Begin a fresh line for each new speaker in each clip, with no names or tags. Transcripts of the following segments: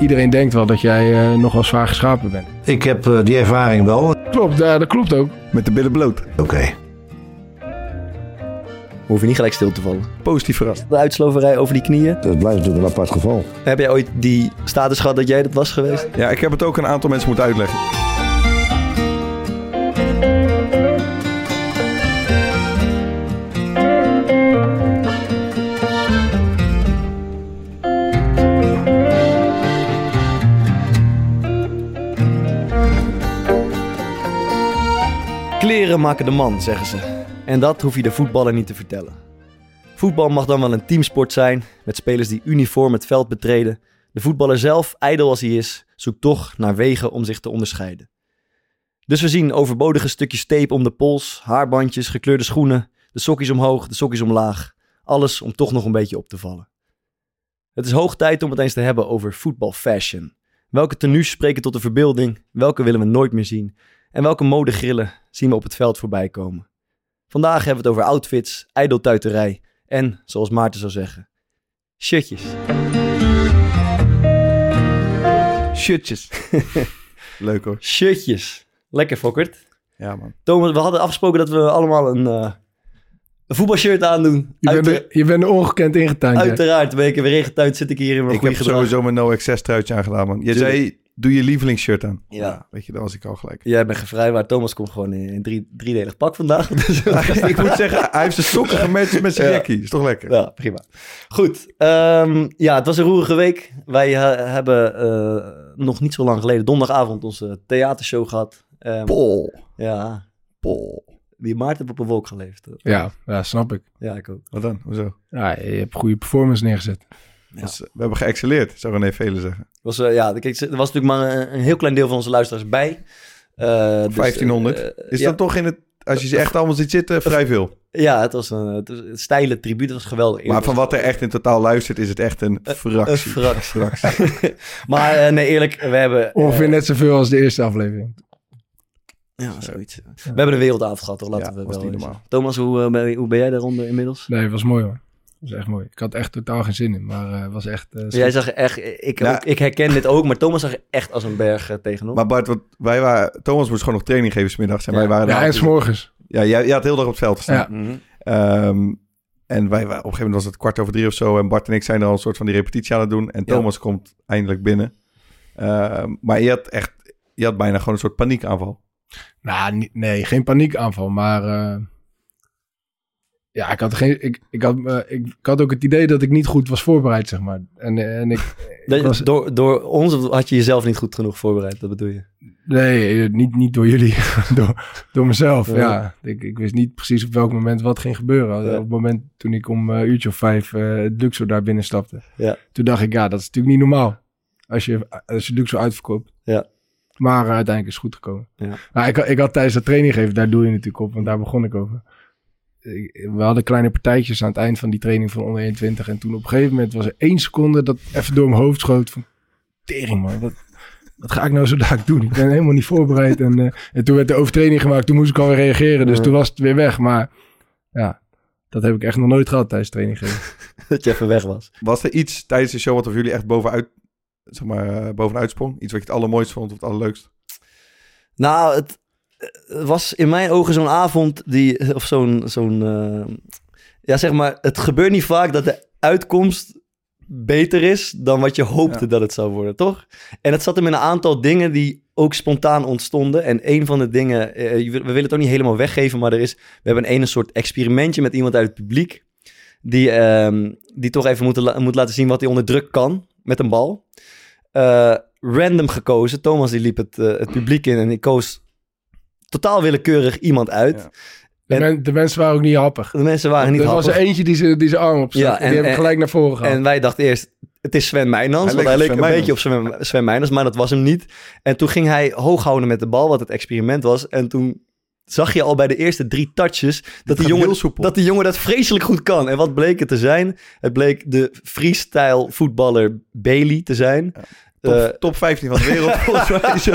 Iedereen denkt wel dat jij eh, nogal zwaar geschapen bent.
Ik heb eh, die ervaring wel. Oké.
Klopt, ja, dat klopt ook.
Met de billen bloot.
We hoeven niet gelijk stil te vallen.
Positief verrast.
De uitsloverij over die knieën.
Dat blijft natuurlijk een apart geval.
Heb jij ooit die status gehad dat jij dat was geweest?
Ja, ik heb het ook een aantal mensen moeten uitleggen.
Kleren maken de man, zeggen ze. En dat hoef je de voetballer niet te vertellen. Voetbal mag dan wel een teamsport zijn, met spelers die uniform het veld betreden. De voetballer zelf, ijdel als hij is, zoekt toch naar wegen om zich te onderscheiden. Dus we zien overbodige stukjes tape om de pols, haarbandjes, gekleurde schoenen, de sokjes omhoog, de sokjes omlaag. Alles om toch nog een beetje op te vallen. Het is hoog tijd om het eens te hebben over voetbalfashion. Welke tenues spreken tot de verbeelding? Welke willen we nooit meer zien? En welke modegrillen zien we op het veld voorbij komen? Vandaag hebben we het over outfits, ijdeltuiterij en, zoals Maarten zou zeggen, shirtjes.
Shirtjes. Leuk hoor.
Shirtjes. Lekker, Fokkert.
Ja man.
Thomas, we hadden afgesproken dat we allemaal een, eh, een voetbalshirt aandoen.
Je,
Uiter-
bent, er, je bent er ongekend ingetuind. hè?
Uiteraard ben ik er weer ingetuind, zit ik hier in mijn
Ik
goede
heb
gedrag.
sowieso mijn No Access truitje aangedaan man. Je
Tuurlijk.
zei, doe je lievelingsshirt aan.
Ja.
Weet je, dat was ik al gelijk.
Jij bent gevrijwaard. Thomas komt gewoon in een drie, driedelig pak vandaag. Dus-
ik moet zeggen, hij heeft zijn sokken gematcht met zijn
Ja.
jackie. Is toch lekker?
Ja, prima. Goed. ehm, ja, het was een roerige week. Wij eh, hebben eh, nog niet zo lang geleden, donderdagavond, onze theatershow gehad. Ehm,
Pol.
Ja. Pol. Die Maarten heeft op een wolk geleefd.
Ja, ja, snap ik.
Ja, ik ook.
Wat dan? Hoezo?
Ja, je hebt goede performance neergezet.
Ja.
Dus, eh, we hebben geëxceleerd, zou René Velen zeggen.
Was, eh, ja, kijk, er was natuurlijk maar een, een heel klein deel van onze luisteraars bij. Eh, dus,
1500.
eh,
Is
ja,
dat toch in het... Als je ze echt allemaal ziet zitten, vrij veel.
Ja, het was een, het was een steile tribuut. Het was geweldig.
Maar van wat er echt in totaal luistert, is het echt een fractie.
Een fractie. maar eh, nee, eerlijk, we hebben... eh,
Ongeveer net zoveel als de eerste aflevering.
ja, zoiets. We hebben de wereldavond gehad, toch? Laten
Ja,
we
was
wel
niet
eens-
normaal.
Thomas, hoe, eh, ben, hoe ben jij daaronder inmiddels?
Nee, het was mooi hoor. Het was echt mooi. Ik had echt totaal geen zin in, maar eh, het was echt... eh,
Jij zag er echt, ik,
Nou-
ook- ik herken dit ook, maar Thomas zag er echt als een berg eh, tegenop.
Maar Bart, want wij waren, Thomas moest gewoon nog training geven smiddags. En
Ja.
wij waren
ja,
daar-
en 's morgens.
ja, jij, jij had heel dag op het veld gestaan.
Ja.
Mhm.
Ehm, en wij, waren- op een gegeven moment was het kwart over drie of zo. En Bart en ik zijn er al een soort van die repetitie aan het doen. En
Ja.
Thomas komt eindelijk binnen. Ehm, maar je had echt, je had bijna gewoon een soort paniekaanval.
Nou, ni- nee, geen paniekaanval, maar... eh, ja, ik had, geen, ik, ik, had, eh, ik, ik had ook het idee dat ik niet goed was voorbereid, zeg maar. En, eh, en ik,
Dat-
ik was-
door, door ons had je jezelf niet goed genoeg voorbereid, dat bedoel je?
Nee, eh, niet, niet door jullie, door, door mezelf.
Ja.
Ja. Ik, ik wist niet precies op welk moment wat ging gebeuren.
Ja.
Op het moment toen ik om een uurtje of vijf eh, het Luxor daar binnen stapte.
Ja.
Toen dacht ik, ja, dat is natuurlijk niet normaal. Als je, als je Luxor uitverkoopt.
Ja.
Maar eh, uiteindelijk is het goed gekomen.
Ja.
Maar Nou, ik, had- ik had tijdens dat training geven, daar doe je natuurlijk op, want daar begon ik over. Ik- We hadden kleine partijtjes aan het eind van die training van onder 21. En toen op een gegeven moment was er één seconde dat even door mijn hoofd schoot van... Tering man, wat, wat ga ik nou zo dadelijk doen? Ik ben helemaal niet voorbereid. En, eh, en toen werd de overtreding gemaakt. Toen moest ik alweer reageren. Dus
Ja.
toen was het weer weg. Maar ja, dat heb ik echt nog nooit gehad tijdens training geven.
Dat je even weg was.
Was er iets tijdens de show wat er voor jullie echt bovenuit, zeg maar, eh, bovenuit sprong? Iets wat je het allermooist vond of het allerleukst?
Nou, het eh, was in mijn ogen zo'n avond die, of zo'n, zo'n eh, ja zeg maar, het gebeurt niet vaak dat de uitkomst beter is dan wat je hoopte
Ja.
dat het zou worden, toch? En het zat hem in een aantal dingen die ook spontaan ontstonden. En een van de dingen, eh, je wil- we willen het ook niet helemaal weggeven, maar er is, we hebben een ene soort experimentje met iemand uit het publiek. Die, ehm, die toch even moet, la- moet laten zien wat hij onder druk kan met een bal. Eh, random gekozen. Thomas die liep het, eh, het publiek in en ik koos totaal willekeurig iemand uit.
Ja.
De,
En-
men- de mensen waren ook niet happig.
De mensen waren niet
er was
happig.
er eentje die, ze, die zijn arm opstak.
Ja,
en,
en-
die heb ik
en-
gelijk naar voren gehaald.
En wij dachten eerst, het is Sven Meijnans.
Hij leek
want hij
op
leek een
Sven
beetje op Sven, Sven Meijnans, maar dat was hem niet. En toen ging hij hoog houden met de bal, wat het experiment was. En toen zag je al bij de eerste drie touches dat die,
gaat
jongen,
heel soepel.
dat die jongen dat vreselijk goed kan. En wat bleek het te zijn? Het bleek de freestyle voetballer Bailey te zijn.
Top,
Eh,
top 15 van de wereld, volgens mij. Zo.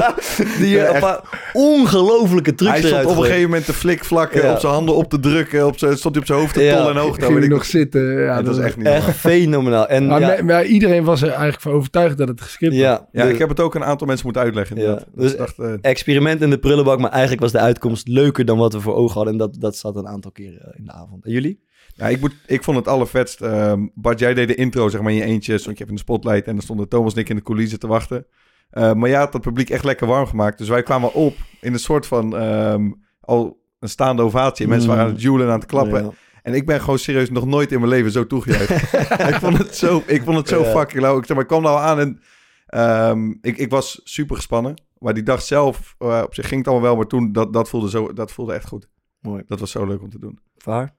die
Ja,
eh, een
echt.
paar ongelofelijke trucs
Hij stond
eruit
op een
gooit.
gegeven moment te flikvlakken,
Ja.
op zijn handen op te drukken, op zijn, stond hij op zijn hoofd te
Ja.
tollen en hoog te
Ging
houden.
hij
Ik-
nog zitten. Ja,
dat is echt niet
Echt
normaal.
fenomenaal. En
Maar,
ja,
me- maar iedereen was er eigenlijk van overtuigd dat het geskipt was.
ja,
Ja,
de-
ik heb het ook een aantal mensen moeten uitleggen.
Ja,
inderdaad.
dus-
ik dacht, eh,
experiment in de prullenbak, maar eigenlijk was de uitkomst leuker dan wat we voor ogen hadden. En dat, dat zat een aantal keren eh, in de avond. En jullie?
ja, ik, moet, ik vond het allervetst. ehm Bart, jij deed de intro zeg maar in je eentje, stond je even in de spotlight en dan stonden Thomas en ik in de coulissen te wachten. Eh, maar jij had dat publiek echt lekker warm gemaakt. Dus wij kwamen op in een soort van ehm, al een staande ovatie. En mensen waren aan het joelen en aan het klappen.
Mm. Ja.
En ik ben gewoon serieus nog nooit in mijn leven zo toegejuicht. ik vond het zo, ik vond het zo
Ja.
fucking lauw. Ik, zeg maar, ik kwam nou aan en ehm, ik, ik was super gespannen. Maar die dag zelf, eh, op zich ging het allemaal wel. Maar toen, dat, dat, voelde zo, dat voelde echt goed.
Mooi.
Dat was zo leuk om te doen.
Voor haar?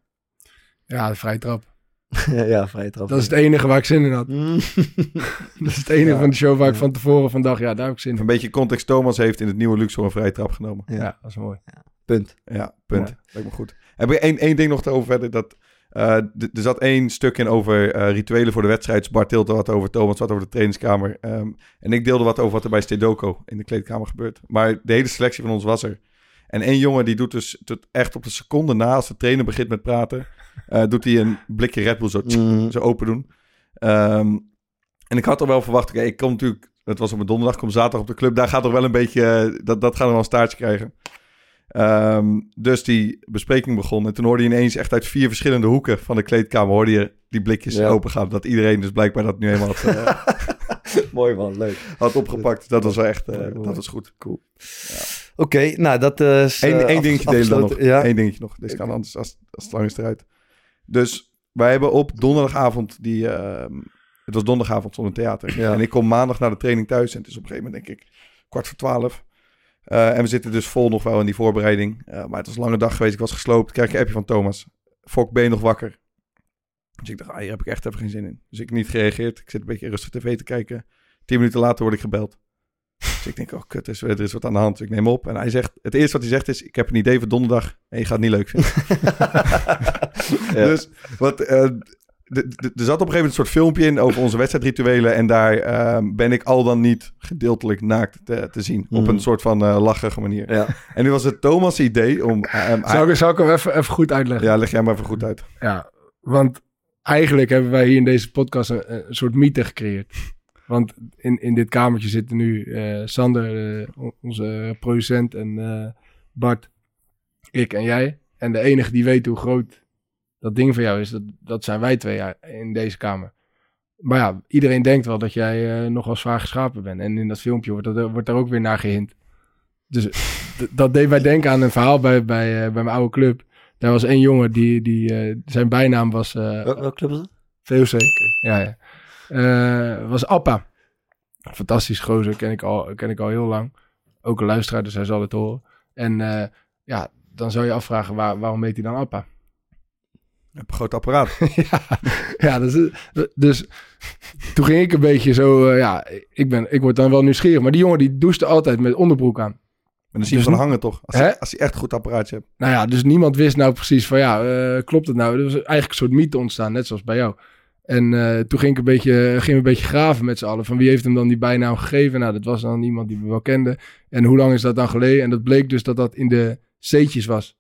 Ja, de vrije trap.
ja, vrije trap.
Dat is het enige waar ik zin in had.
Mm.
Dat is het enige
Ja.
van de show waar ik
Ja.
van tevoren van dacht, ja, daar heb ik zin
Een
in.
beetje context. Thomas heeft in het nieuwe Luxor een vrije trap genomen.
Ja.
Ja, dat is mooi.
Punt.
Ja, punt. Lijkt me goed. Heb ik één, één ding nog te over verder? Dat, eh, d- er zat één stuk in over eh, rituelen voor de wedstrijd. Dus Bart Tilte wat over, Thomas wat over de trainingskamer. Ehm, en ik deelde wat over wat er bij Stedoco in de kleedkamer gebeurt. Maar de hele selectie van ons was er. En één jongen die doet dus tot echt op de seconde na, als de trainer begint met praten, eh, doet hij een blikje Red Bull zo,
Mm.
zo open doen. Ehm, en ik had al wel verwacht, oké, ik kom natuurlijk, het was op een donderdag, ik kom zaterdag op de club, daar gaat toch wel een beetje, eh, dat, dat gaan we wel een staartje krijgen. Ehm, dus die bespreking begon en toen hoorde je ineens echt uit vier verschillende hoeken van de kleedkamer, hoorde je die blikjes
Ja.
opengaan. Dat iedereen dus blijkbaar dat nu helemaal had, eh,
Mooi man, leuk.
had opgepakt. Dus Dat was wel echt, eh,
Mooi, mooi.
dat was goed. Cool.
Oké, nou dat eh, is...
Eén,
eh,
één
af-
dingetje delen dan nog.
afgesloten. Ja.
Eén dingetje nog. Deze kan anders als, als het lang is eruit. Dus wij hebben op donderdagavond die... ehm, het was donderdagavond zonder theater.
Ja.
En ik kom maandag naar de training thuis. En het is op een gegeven moment denk ik kwart voor twaalf. Eh, en we zitten dus vol nog wel in die voorbereiding. Eh, maar het was een lange dag geweest. Ik was gesloopt. Ik Krijg een appje van Thomas. Fok, ben je nog wakker? Dus ik dacht, ah, hier heb ik echt even geen zin in. Dus ik niet gereageerd. Ik zit een beetje rustig tv te kijken. Tien minuten later word ik gebeld. Dus ik denk, oh kut, er is, er is wat aan de hand. Dus ik neem op. En hij zegt, het eerste wat hij zegt is, ik heb een idee voor donderdag. En je gaat het niet leuk vinden.
Ja.
Dus wat, eh, d- d- er zat op een gegeven moment een soort filmpje in over onze wedstrijdrituelen. En daar eh, ben ik al dan niet gedeeltelijk naakt te, te zien. Op
Mm.
een soort van eh, lachige manier.
Ja.
En nu was het Thomas' idee om... eh, eh,
Zou ik, zou ik hem even, even goed uitleggen?
ja, leg jij maar even goed uit.
Ja, want eigenlijk hebben wij hier in deze podcast een, een soort mythe gecreëerd. Want in, in dit kamertje zitten nu eh, Sander, eh, on- onze producent, en eh, Bart, ik en jij. En de enige die weet hoe groot dat ding van jou is, dat, dat zijn wij twee ja, in deze kamer. Maar ja, iedereen denkt wel dat jij eh, nogal zwaar geschapen bent. En in dat filmpje wordt, dat, wordt daar ook weer naar gehind. Dus d- dat deed mij denken aan een verhaal bij, bij, eh, bij mijn oude club. Daar was één jongen die, die eh, zijn bijnaam was eh,
Wel- welke club is dat?
VOC. Ja, ja. Eh, was Appa. Fantastisch gozer, ken ik, al, ken ik al heel lang. Ook een luisteraar, dus hij zal het horen. En eh, ja, dan zou je afvragen, waar, waarom heet hij dan Appa?
Ik heb een groot apparaat.
ja, ja dus, dus toen ging ik een beetje zo, eh, ja, ik, ben, ik word dan wel nieuwsgierig. Maar die jongen die douchte altijd met onderbroek aan.
En dan zie je
Dus
van hangen toch? Als,
Hè?
hij, als hij echt een goed apparaatje hebt.
Nou ja, dus niemand wist nou precies van ja, eh, klopt het nou? Er was eigenlijk een soort mythe ontstaan, net zoals bij jou. En eh, toen ging ik een beetje, ging we een beetje graven met z'n allen. Van wie heeft hem dan die bijnaam gegeven? Nou, dat was dan iemand die we wel kenden. En hoe lang is dat dan geleden? En dat bleek dus dat dat in de C'tjes was.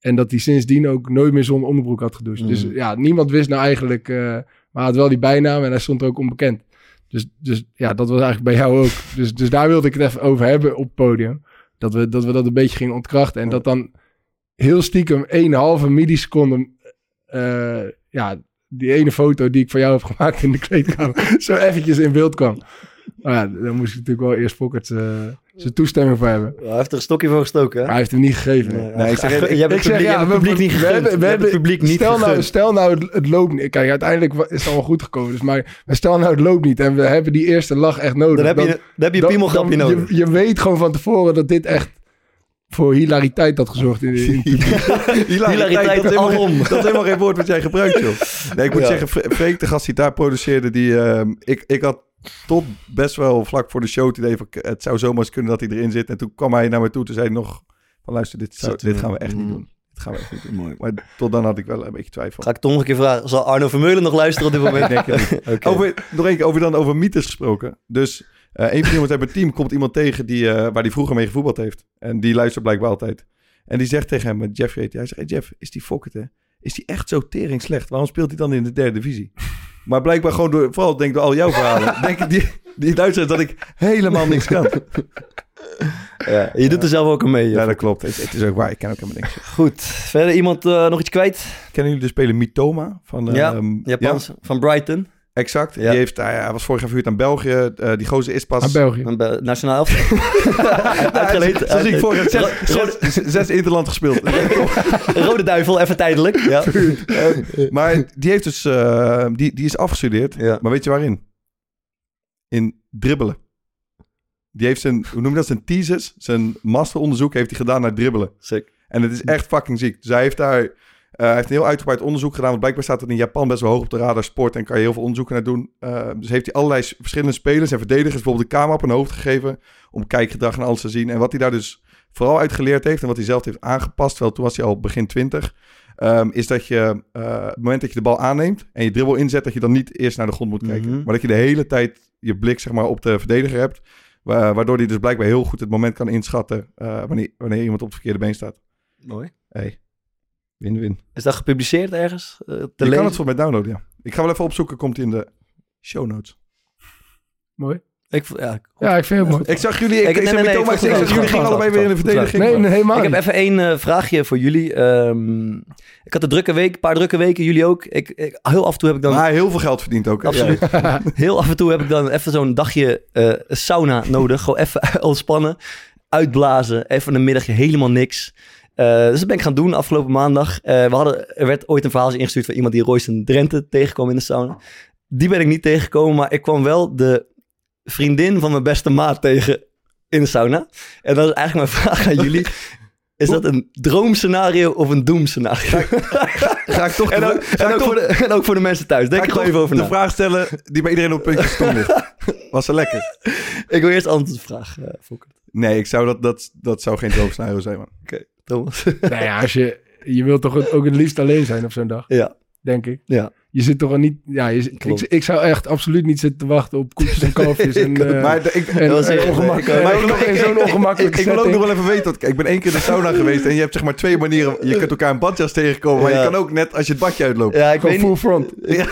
En dat hij sindsdien ook nooit meer zonder onderbroek had gedoucht.
Mhm.
Dus ja, niemand wist nou eigenlijk... eh, maar hij had wel die bijnaam en hij stond er ook onbekend. Dus, dus ja, dat was eigenlijk bij jou ook. Dus, dus daar wilde ik het even over hebben op het podium. Dat we, dat we dat een beetje gingen ontkrachten. En dat dan heel stiekem 1,5 milliseconde... eh, ja, die ene foto die ik van jou heb gemaakt in de kleedkamer... zo eventjes in beeld kwam. Maar ja, dan moest ik natuurlijk wel eerst Fokkert eh, zijn toestemming voor hebben.
Hij heeft er een stokje voor gestoken, hè?
Maar hij heeft hem niet gegeven.
Nee,
Nee, ik zeg-
je hebt het
Ik zeg,
publiek, je hebt
ja,
het
we-
publiek niet
we
gegund.
hebben- we
Je hebt het
hebben-
publiek niet
stel, nou,
gegund.
stel nou, het, het loopt niet. Kijk, uiteindelijk wa- is het allemaal goed gekomen. Dus maar, maar stel nou, het loopt niet. En we hebben die eerste lach echt nodig.
Dan heb je, dan heb je een
dan-
piemelgrapje
dan-
nodig.
Je, je weet gewoon van tevoren dat dit echt voor hilariteit had gezorgd. In, in-
Hilariteit
dat, helemaal,
alom.
dat is helemaal geen woord wat jij gebruikt, joh. Nee, ik moet
Ja.
zeggen, Fre- Freek, de gast die daar produceerde, die, ehm, ik, ik had tot best wel vlak voor de show het idee van, k- het zou zomaar eens kunnen dat hij erin zit. En toen kwam hij naar me toe, toen zei hij nog van, luister, dit, zou-
Zit
dit
er-
gaan we echt niet
Mm.
doen. Dit gaan we echt niet doen.
Mooi.
Maar tot dan had ik wel een beetje twijfel.
Ga ik toch nog een keer vragen. Zal Arno Vermeulen nog luisteren op dit moment?
Ik denk het niet. Over, nog één keer over, dan over mythes gesproken. Dus eh een van iemand uit mijn team komt iemand tegen die, eh, waar die vroeger mee gevoetbald heeft. En die luistert blijkbaar altijd. En die zegt tegen hem, eh, Jeff heet hij. Hij zegt, hey Jeff, is die Fokkert hè? Is die echt zo tering slecht? Waarom speelt hij dan in de derde divisie? Maar blijkbaar gewoon door, vooral denk ik door al jouw verhalen. denk ik die, die luistert dat ik helemaal niks kan.
Ja, je doet er zelf ook aan mee.
Ja,
joh.
dat klopt. Het, het is ook waar. Ik ken ook helemaal niks.
Goed. Verder iemand eh, nog iets kwijt?
Kennen jullie de speler Mitoma? Van,
Ja,
ehm,
Japans van Brighton.
exact.
Ja.
Die heeft, hij- hij was vorig jaar verhuurd aan België. Eh, die gozer is pas...
aan België.
Een be- Nationaal elftal. Uitgeleend.
Zoals ik
uitgeleend.
vorig jaar
Ro-
zes, zes, zes Interland gespeeld.
Rode duivel, even tijdelijk. Ja.
maar die heeft dus, eh, die, die is afgestudeerd.
Ja.
Maar weet je waarin? In dribbelen. Die heeft zijn, hoe noem je dat, zijn thesis, zijn masteronderzoek heeft hij gedaan naar dribbelen.
Sick.
En het is echt fucking ziek. Dus hij heeft daar, eh, hij heeft een heel uitgebreid onderzoek gedaan. Want blijkbaar staat het in Japan best wel hoog op de radar sport. En kan je heel veel onderzoeken naar doen. Eh, dus heeft hij allerlei s- verschillende spelers en verdedigers bijvoorbeeld de kamer op hun hoofd gegeven. Om kijkgedrag en alles te zien. En wat hij daar dus vooral uit geleerd heeft. En wat hij zelf heeft aangepast. Wel, toen was hij al begin 20. ehm, is dat je, eh, het moment dat je de bal aanneemt en je dribbel inzet, dat je dan niet eerst naar de grond moet kijken.
Mhm.
Maar dat je de hele tijd je blik zeg maar, op de verdediger hebt. wa- Waardoor hij dus blijkbaar heel goed het moment kan inschatten eh, wanneer, wanneer iemand op het verkeerde been staat.
Mooi.
Hey. Win-win.
Is dat gepubliceerd ergens? eh, te
Je
lezen?
kan het voor mij downloaden, ja. Ik ga wel even opzoeken, komt in de show notes.
Ik, v- ja, goed.
Ja, ik vind het mooi.
Ik zag jullie, ik, ik,
Ik- nee,
zei
nee, nee,
met Thomas,
ik vond
ik
het
zag
wel
jullie
goed.
gingen allebei
Goed,
weer in de
goed,
verdediging.
Nee, nee, helemaal
Ik heb
niet.
even één eh, vraagje voor jullie. Ehm, ik had een drukke week, een paar drukke weken, jullie ook. Ik, ik- heel af en toe heb ik dan...
Maar hij heeft heel veel geld verdient ook. hè?
Absoluut. Heel af en toe heb ik dan even zo'n dagje eh, sauna nodig. Gewoon even ontspannen, uitblazen, even een middagje helemaal niks. Eh, dus dat ben ik gaan doen afgelopen maandag. Eh, we hadden, er werd ooit een verhaal ingestuurd van iemand die Royston Drenthe tegenkwam in de sauna. Die ben ik niet tegengekomen, maar ik kwam wel de vriendin van mijn beste maat tegen in de sauna. En dat is eigenlijk mijn vraag aan jullie. Is dat een droomscenario of een doemscenario?
Ja. Ga ik toch,
En ook, en, ook voor de, en ook voor de mensen thuis.
ga
Denk er
ik
gewoon
toch
even over na.
de vraag stellen die bij iedereen op het puntje stond ligt. Was ze lekker?
Ik wil eerst antwoord op de vraag, eh Fokker.
Nee, ik zou dat, dat, dat zou geen droomscenario zijn, man.
Oké, Thomas.
Nou ja, als je, je wilt toch het- ook het liefst alleen zijn op zo'n dag,
ja,
denk ik.
ja.
Je zit toch al niet... Ja, je, zit- ik,
Klopt.
ik zou echt absoluut niet zitten te wachten op koekjes en kalfjes. En, eh,
Maar de- ik,
en,
dat was
en
echt-
ongemak-
ik-
en
Maar
ook
ik-
nog
ik-
in zo'n
ik-
ongemakkelijke
Ik wil ook nog
setting.
wel even weten, want ik ben één keer in de sauna geweest en je hebt zeg maar twee manieren. Je kunt elkaar een badjas tegenkomen, maar
Ja.
je kan ook net als je het badje uitloopt.
ja ik,
Gewoon
weet
full front.
niet-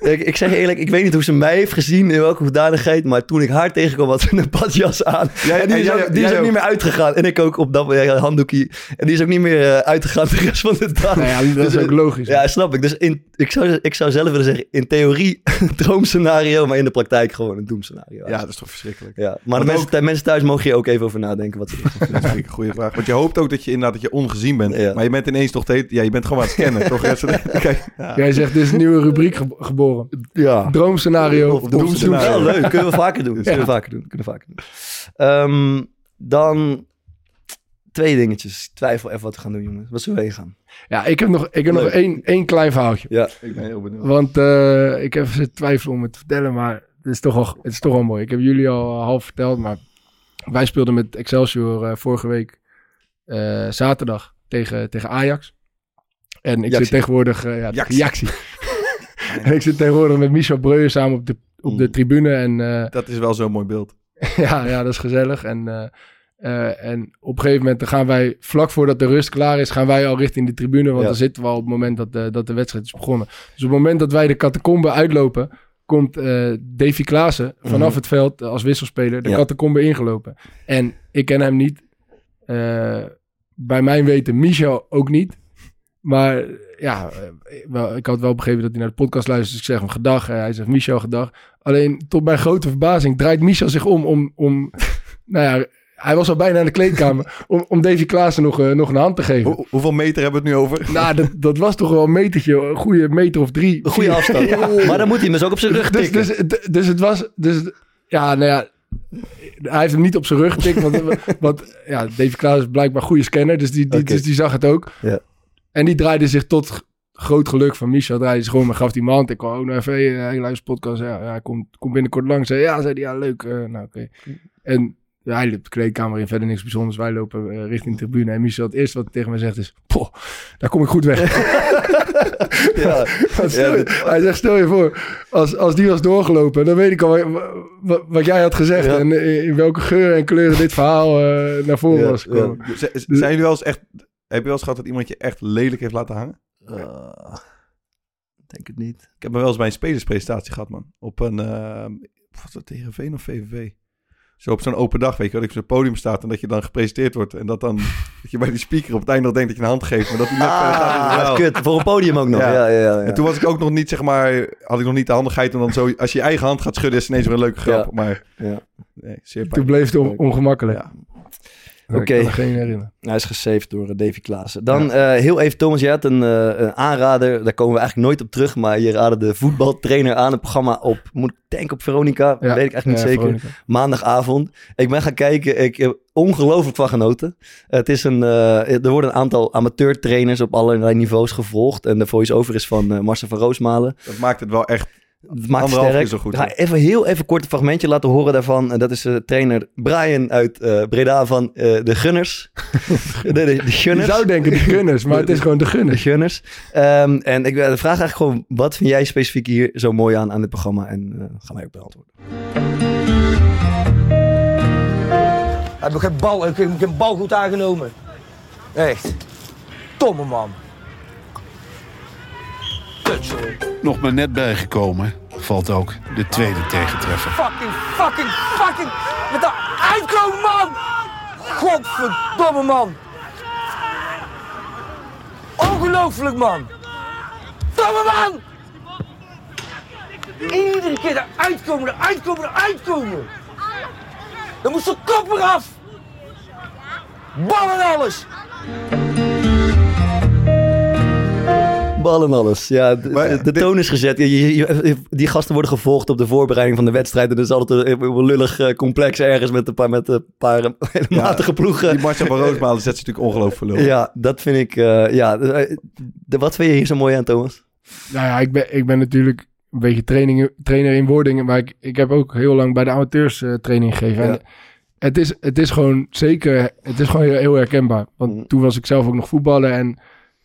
ik, ik zeg je eerlijk, ik weet niet hoe ze mij heeft gezien, in welke hoedanigheid, maar toen ik haar tegenkwam, had ze een badjas aan.
Jij-
en die
en
is,
jij-
ook, die
jij
is ook
ook.
niet meer uitgegaan. En ik ook op dat ja, handdoekje. En die is ook niet meer eh, uitgegaan de rest van de dag.
Nou ja, dat is
Dus,
ook
eh,
logisch.
Ja, snap ik. Dus in, ik, zou, ik zou zelf willen zeggen, in theorie een droomscenario, maar in de praktijk gewoon een doemscenario.
Ja, dat is toch verschrikkelijk.
ja. Maar de
Want
mensen, mensen thuis mogen hier ook even over nadenken wat ze
Dat vind ik een goede vraag. Want je hoopt ook dat je inderdaad dat je ongezien bent.
Ja.
Maar je bent ineens toch... de hele- Ja, je bent gewoon aan het scannen. toch? Ja, zo- Kijk, ja.
Jij zegt, dit is een nieuwe rubriek ge- geboren.
Ja.
Droomscenario.
Of doemscenario. Wel leuk, kunnen we vaker doen. Kunnen we vaker doen. Kunnen we vaker doen. Ehm, dan twee dingetjes. Ik Twijfel even wat we gaan doen, jongens. Wat zullen we heen gaan?
Ja, ik heb nog, ik heb nog
Leuk.
één, één klein verhaaltje.
Ja.
Ik ben heel benieuwd.
Want eh, ik heb even zitten twijfelen om het te vertellen, maar het is toch al, het is toch al mooi. Ik heb jullie al eh, half verteld, maar wij speelden met Excelsior eh, vorige week eh, zaterdag tegen, tegen Ajax. En ik
Jaxie.
zit tegenwoordig... eh, ja,
Jaxie.
Jaxie. en ik zit tegenwoordig met Michel Breuer samen op de, op de
Mm.
tribune. En eh,
Dat is wel zo'n mooi beeld.
ja, ja, dat is gezellig. En, eh, eh, en op een gegeven moment dan gaan wij, vlak voordat de rust klaar is, gaan wij al richting de tribune. Want
Ja.
dan zitten we al op het moment dat de, dat de wedstrijd is begonnen. Dus op het moment dat wij de catacombe uitlopen, komt eh Davy Klaassen vanaf
Mhm.
het veld eh, als wisselspeler de
Ja.
catacombe ingelopen. En ik ken hem niet. Eh, bij mijn weten Michel ook niet. Maar eh, ja, eh, wel, ik had wel begrepen dat hij naar de podcast luistert. Dus ik zeg hem gedag. Eh, hij zegt Michel gedag. Alleen tot mijn grote verbazing draait Michel zich om. om, om nou ja, hij was al bijna in de kleedkamer. om, om Davy Klaassen nog, eh, nog een hand te geven.
Hoe- hoeveel meter hebben we het nu over?
Nou, dat, dat was toch wel een metertje. Een goede meter of drie.
Een goede
vier.
afstand. Maar dan moet hij hem dus ook op zijn rug
Dus,
tikken.
dus, dus, dus het was... Dus, ja, nou ja, Hij heeft hem niet op zijn rug getikt, want, want ja, Davy Klaas is blijkbaar een goede scanner, dus die, die,
Oké.
dus die zag het ook.
Ja.
En die draaide zich tot g- groot geluk van Michel, draaide zich gewoon, maar gaf die man hand. Ik kwam ook naar even, hey, eh, ik luister podcast, ja, ja, kom, kom binnenkort langs. Zei, ja, zei hij, ja, leuk, eh, nou oké. En ja, hij loopt de kleedkamer in, verder niks bijzonders. Wij lopen eh, richting de tribune en Michel, het eerste wat hij tegen mij zegt is, poh, daar kom ik goed weg.
Ja,
Want stel je-
dit-
hij zegt, stel je voor, als, als die was doorgelopen, dan weet ik al wa- wa- wa- wat, jij had gezegd.
Ja.
En eh, in welke geuren en kleuren dit verhaal eh, naar voren
Ja,
was gekomen.
Z- z- Zijn jullie wel eens echt... Heb je wel eens gehad dat iemand je echt lelijk heeft laten hangen?
Eh, denk het niet.
Ik heb me wel eens bij een spelerspresentatie gehad, man. Op een... eh, wat was dat, tegen Veen of VVV? Zo op zo'n open dag, weet je wel, dat je op het podium staat en dat je dan gepresenteerd wordt. En dat dan, dat je bij die speaker op het einde nog denkt dat je een hand geeft, maar dat die net verder gaat in het verhaal.
Ah, kut. Voor een podium ook nog. Ja.
Ja.
Ja, ja, ja,
En toen was ik ook nog niet, zeg maar, had ik nog niet de handigheid om dan zo, als je je eigen hand gaat schudden, is het ineens weer een leuke grap.
Ja.
Maar,
Ja.
nee, zeer
Toen
pijn.
bleef het on- ongemakkelijk.
Ja.
Ik
Oké.
kan me geen herinneren.
Hij is gesaved door eh, Davy Klaassen. Dan eh, heel even, Thomas, jij had een, eh, een aanrader. Daar komen we eigenlijk nooit op terug. Maar je raadde de voetbaltrainer aan. Het programma op, moet ik denken op Veronica?
Ja,
Weet ik eigenlijk niet
eh,
zeker.
Veronica.
Maandagavond. Ik ben gaan kijken. Ik heb ongelooflijk van genoten. Het is een, eh, er worden een aantal amateurtrainers op allerlei niveaus gevolgd. En de voice-over is van eh Marcel van Roosmalen.
Dat maakt het wel echt...
Het maakt
Anderhalf
sterk.
is al goed,
Ga even heel even kort een fragmentje laten horen daarvan. En dat is eh, trainer Brian uit eh, Breda van eh, de Gunners. de, de, de
Je
Gunners.
zou denken de gunners, maar het is gewoon de
De
gunners.
Gunners. Ehm, en ik wil de vraag eigenlijk gewoon, wat vind jij specifiek hier zo mooi aan, aan dit programma? En eh, gaan wij ook beantwoorden.
Heb ik geen bal, ik heb geen bal goed aangenomen. Echt. Tomme man. Kut, sorry.
Nog maar net bijgekomen, valt ook de tweede tegentreffer.
Fucking, fucking, fucking. Met dat uitkomen, man. Godverdomme, man. Ongelooflijk, man. Domme man. Iedere keer eruit komen, eruit komen, eruit komen. Dan moest de kop eraf. Ballen alles.
Ballen alles. Ja, de,
Maar eh,
de- de
dit-
toon is gezet. Je- je- je- die gasten worden gevolgd op de voorbereiding van de wedstrijd. En dat is altijd een, een lullig eh, complex ergens met een paar, met een paar eh, matige ploegen.
Die Marcel van Roosmalen zet ze natuurlijk ongelooflijk voor lul.
Ja, dat vind ik. eh, ja, eh, de- wat vind je hier zo mooi aan, Thomas?
Nou ja, ik ben, ik ben natuurlijk een beetje training, trainer in wordingen, maar ik, ik heb ook heel lang bij de amateurs eh, training gegeven.
Ja.
En het, is, het is gewoon zeker, het is gewoon heel, heel herkenbaar. Want
Mhm.
toen was ik zelf ook nog voetballer en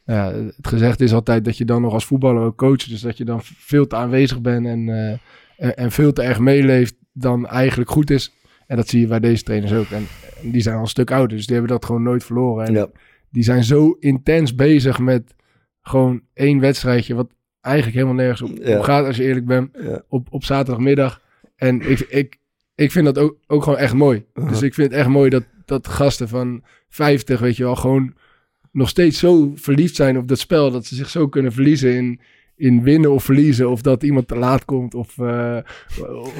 nou ja, het gezegd is altijd dat je dan nog als voetballer ook coacht. Dus dat je dan veel te aanwezig bent en, eh, en, en veel te erg meeleeft dan eigenlijk goed is. En dat zie je bij deze trainers ook. En, en die zijn al een stuk ouder, dus die hebben dat gewoon nooit verloren. En
Ja.
die zijn zo intens bezig met gewoon één wedstrijdje, wat eigenlijk helemaal nergens op,
Ja.
op gaat, als je eerlijk bent,
Ja.
op, op zaterdagmiddag. En ik, ik, ik vind dat ook, ook gewoon echt mooi. Dus ik vind het echt mooi dat, dat gasten van 50, weet je wel, gewoon nog steeds zo verliefd zijn op dat spel, dat ze zich zo kunnen verliezen in, in winnen of verliezen, of dat iemand te laat komt, of... eh,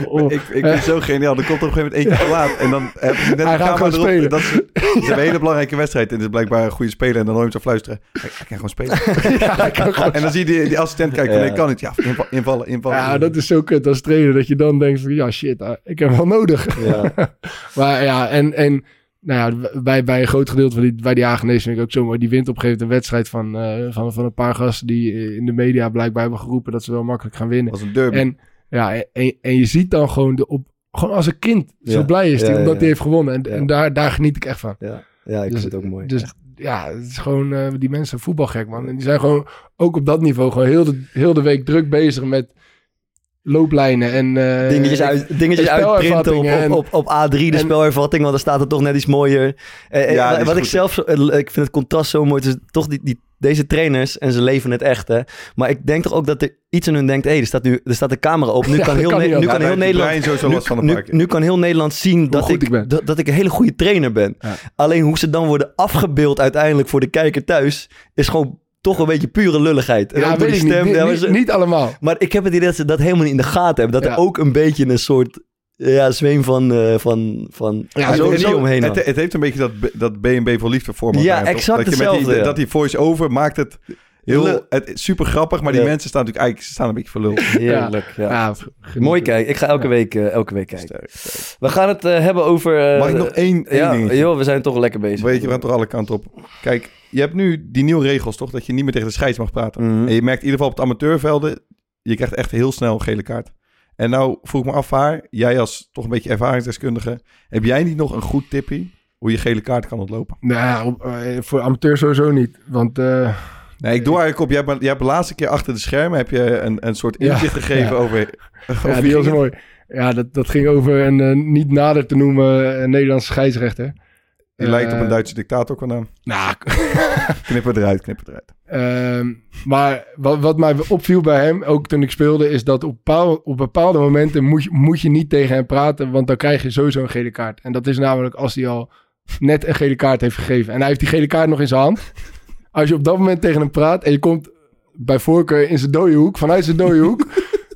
of-
Ik, ik vind het zo geniaal. Er komt op een gegeven moment eentje te laat. En dan heb je net de
Hij gaat
camera
gewoon
erop.
spelen.
Dat is, dat is een hele belangrijke wedstrijd. En het is blijkbaar een goede speler. En dan hoor je hem zo fluisteren. Hij, hij kan gewoon spelen.
Ja, ik kan gewoon-
En dan zie je die, die assistent kijken. van,
Ja.
Nee, kan het. Ja, inval- invallen, invallen.
ja, dat is zo kut als trainer, dat je dan denkt van, ja shit, eh, ik heb hem wel nodig.
Ja.
Maar ja, en, en nou ja, bij, bij een groot gedeelte van die, bij die Hagenees vind ik ook zo mooi. Die wint op een gegeven moment een wedstrijd van, eh, van, van een paar gasten die eh, in de media blijkbaar hebben geroepen dat ze wel makkelijk gaan winnen.
was een derby.
En, ja, en, en je ziet dan gewoon, de op, gewoon als een kind zo
Ja.
blij is die,
Ja, ja,
omdat
ja.
hij heeft gewonnen. En,
Ja.
en daar, daar geniet ik echt van.
Ja. ja, ik
Dus-
vind het ook mooi.
Dus ja, het is gewoon, eh, die mensen zijn voetbalgek, man. En die zijn gewoon, ook op dat niveau, gewoon heel de, heel de week druk bezig met looplijnen en... eh,
dingetjes uit, dingetjes
de
uitprinten op,
spelervattingen
op, op, op A3, de
en-
spelervatting, want dan staat het toch net iets mooier. Eh, eh,
Ja,
wa-
die is
wat ik
goed.
zelf, zo- eh, ik vind het contrast zo mooi, het is toch die, die, deze trainers, en ze leven het echt, hè. Maar ik denk toch ook dat er iets in hun denkt, hé, er, staat nu, er staat de camera op, nu
Ja,
kan
dat
heel,
kan
Ne-
niet
nu
anders.
kan heel Nederland...
Brian sowieso
Nu,
last van een
nu,
paar keer.
nu kan heel Nederland zien dat
goed
ik,
ik ben.
dat, dat ik een hele goede trainer ben.
Ja.
Alleen hoe ze dan worden afgebeeld uiteindelijk voor de kijker thuis, is gewoon toch een beetje pure lulligheid. En
Ja,
ook door
weet
die
ik niet.
stem,
Niet-
ja, maar
niet,
ze-
niet allemaal.
maar ik heb het idee dat ze dat helemaal niet in de gaten hebben. Dat er
Ja.
ook een beetje een soort eh, ja, zweem van, eh, van, van
Ja,
ja,
het-
zo
het-
omheen. hangt.
het, het heeft een beetje dat, B- dat B&B voor liefde format.
Ja,
aan, toch? dat
exact
je met die-
hetzelfde, ja.
Dat die voice-over maakt het... Heel,
Lul.
het is super grappig, maar die
Ja.
mensen staan natuurlijk eigenlijk ze staan een beetje voor lul.
Heerlijk, ja.
Ja, genieten.
Mooi kijken. Ik ga elke, week, eh, elke week kijken.
Sterk, sterk.
We gaan het eh, hebben over... eh,
Mag ik nog één, één
ja,
dingetje?
joh, we zijn toch lekker bezig.
Weet je, we gaan toch alle kanten op. Kijk, je hebt nu die nieuwe regels, toch? Dat je niet meer tegen de scheids mag praten.
Mhm.
En je merkt in ieder geval op het amateurvelden, je krijgt echt heel snel een gele kaart. En nou vroeg ik me af, haar, jij als toch een beetje ervaringsdeskundige, heb jij niet nog een goed tipje hoe je gele kaart kan ontlopen?
Nou, ja, op- eh, voor amateurs sowieso niet. Want eh,
Nee, ik doe eigenlijk op, jij hebt, jij hebt de laatste keer achter de schermen heb je een, een soort
Ja.
inzicht gegeven
Ja.
over... over
ja,
wie
die was
ging
mooi. Ja, dat, dat ging over een eh, niet nader te noemen eh, Nederlandse scheidsrechter.
Die lijkt op een
Eh,
Duitse dictator qua naam.
Nou,
Knipper eruit, knipper eruit.
Ehm, maar wat, wat mij opviel bij hem, ook toen ik speelde, is dat op, bepaal- op bepaalde momenten moet je, moet je niet tegen hem praten, want dan krijg je sowieso een gele kaart. En dat is namelijk als hij al net een gele kaart heeft gegeven. En hij heeft die gele kaart nog in zijn hand. Als je op dat moment tegen hem praat en je komt bij voorkeur in zijn dode hoek, vanuit zijn dode hoek,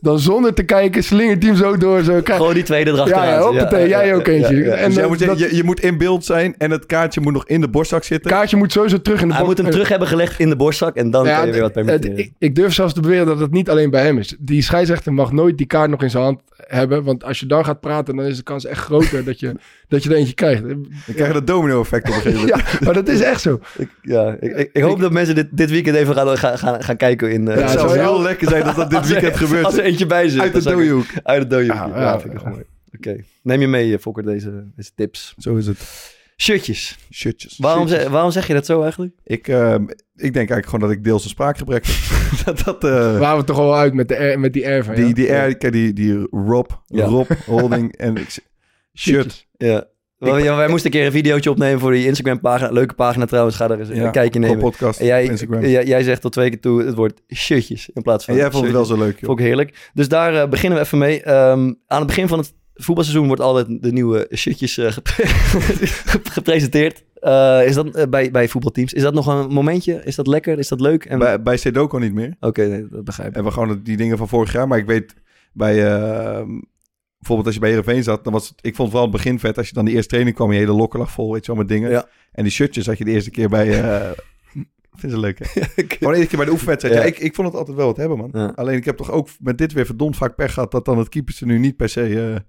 dan zonder te kijken slingert hij hem zo door. Zo, krijg...
Gewoon die tweede
Ja,
erachteraan.
ja, hoppatee, jij ook eentje.
ja, ja.
En
Dus jij
dat-
moet zeggen,
dat
je, je moet in beeld zijn en het kaartje moet nog in de borstzak zitten.
kaartje moet sowieso terug in de
Hij
box-
moet hem terug hebben gelegd in de borstzak en dan
Nou
kan je
ja,
weer wat
het-
permitteren.
ik, ik durf zelfs te beweren dat het niet alleen bij hem is. Die scheidsrechter mag nooit die kaart nog in zijn hand hebben. Want als je dan gaat praten, dan is de kans echt groter dat, je, dat je er eentje krijgt.
Dan krijg je dat domino-effect op een gegeven moment.
Ja, maar dat is echt zo.
Ik- ja, ik, ik, ik hoop dat mensen dit, dit weekend even gaan, gaan, gaan, gaan kijken in... eh,
Ja,
Het
zelfs-
zou
zou je
heel
al-
lekker zijn dat dat dit
als er-
weekend gebeurt.
Als er eentje bij zit.
Uit de
dan zou ik-
dode hoek.
Uit de dode hoek.
Ja,
Ja,
ja,
vind ik wel mooi. Oké, neem je mee, eh, Fokker, deze, deze tips.
Zo is het.
Shirtjes.
Shitjes.
Waarom, zeg- waarom zeg je dat zo eigenlijk?
Ik, ehm, ik denk eigenlijk gewoon dat ik deels een spraakgebrek heb. dat, dat, eh,
We waren we toch al uit met, de R, met die R van ja.
die, die, R, die, die, Rob,
Ja.
Rob Holding en ik, shit.
Shitjes.
Ja. Wel, ja, wij moesten een keer een videootje opnemen voor die Instagram-pagina. Leuke pagina trouwens, ga daar eens een kijkje
voor
nemen.
podcast
En jij,
op Instagram.
jij, jij zegt tot twee keer toe het woord shirtjes in plaats van
en jij vond het wel
shirtjes.
zo leuk, joh.
Vond ik heerlijk. Dus daar eh, beginnen we even mee. Ehm, aan het begin van het voetbalseizoen wordt altijd de nieuwe shirtjes eh, gep- gepresenteerd. Eh, is dat eh, bij, bij voetbalteams? Is dat nog een momentje? Is dat lekker? Is dat leuk? En...
Bij, bij Sedoko niet meer.
Oké, nee, dat begrijp ik.
En we gewoon die dingen van vorig jaar. Maar ik weet bij... ehm, bijvoorbeeld als je bij Heerenveen zat, dan was het... Ik vond vooral het begin vet. Als je dan de eerste training kwam, je hele lokken lag vol, weet je wel, met dingen.
Ja.
En die shirtjes had je de eerste keer bij... eh, vind ze leuk, hè?
Ik-
Gewoon iedere keer bij de oefenwedstrijd.
Ja.
Ja. ik, ik vond het altijd wel wat hebben, man.
Ja.
Alleen ik heb toch ook met dit weer verdomd vaak pech gehad... dat dan het keepers er nu niet per se eh,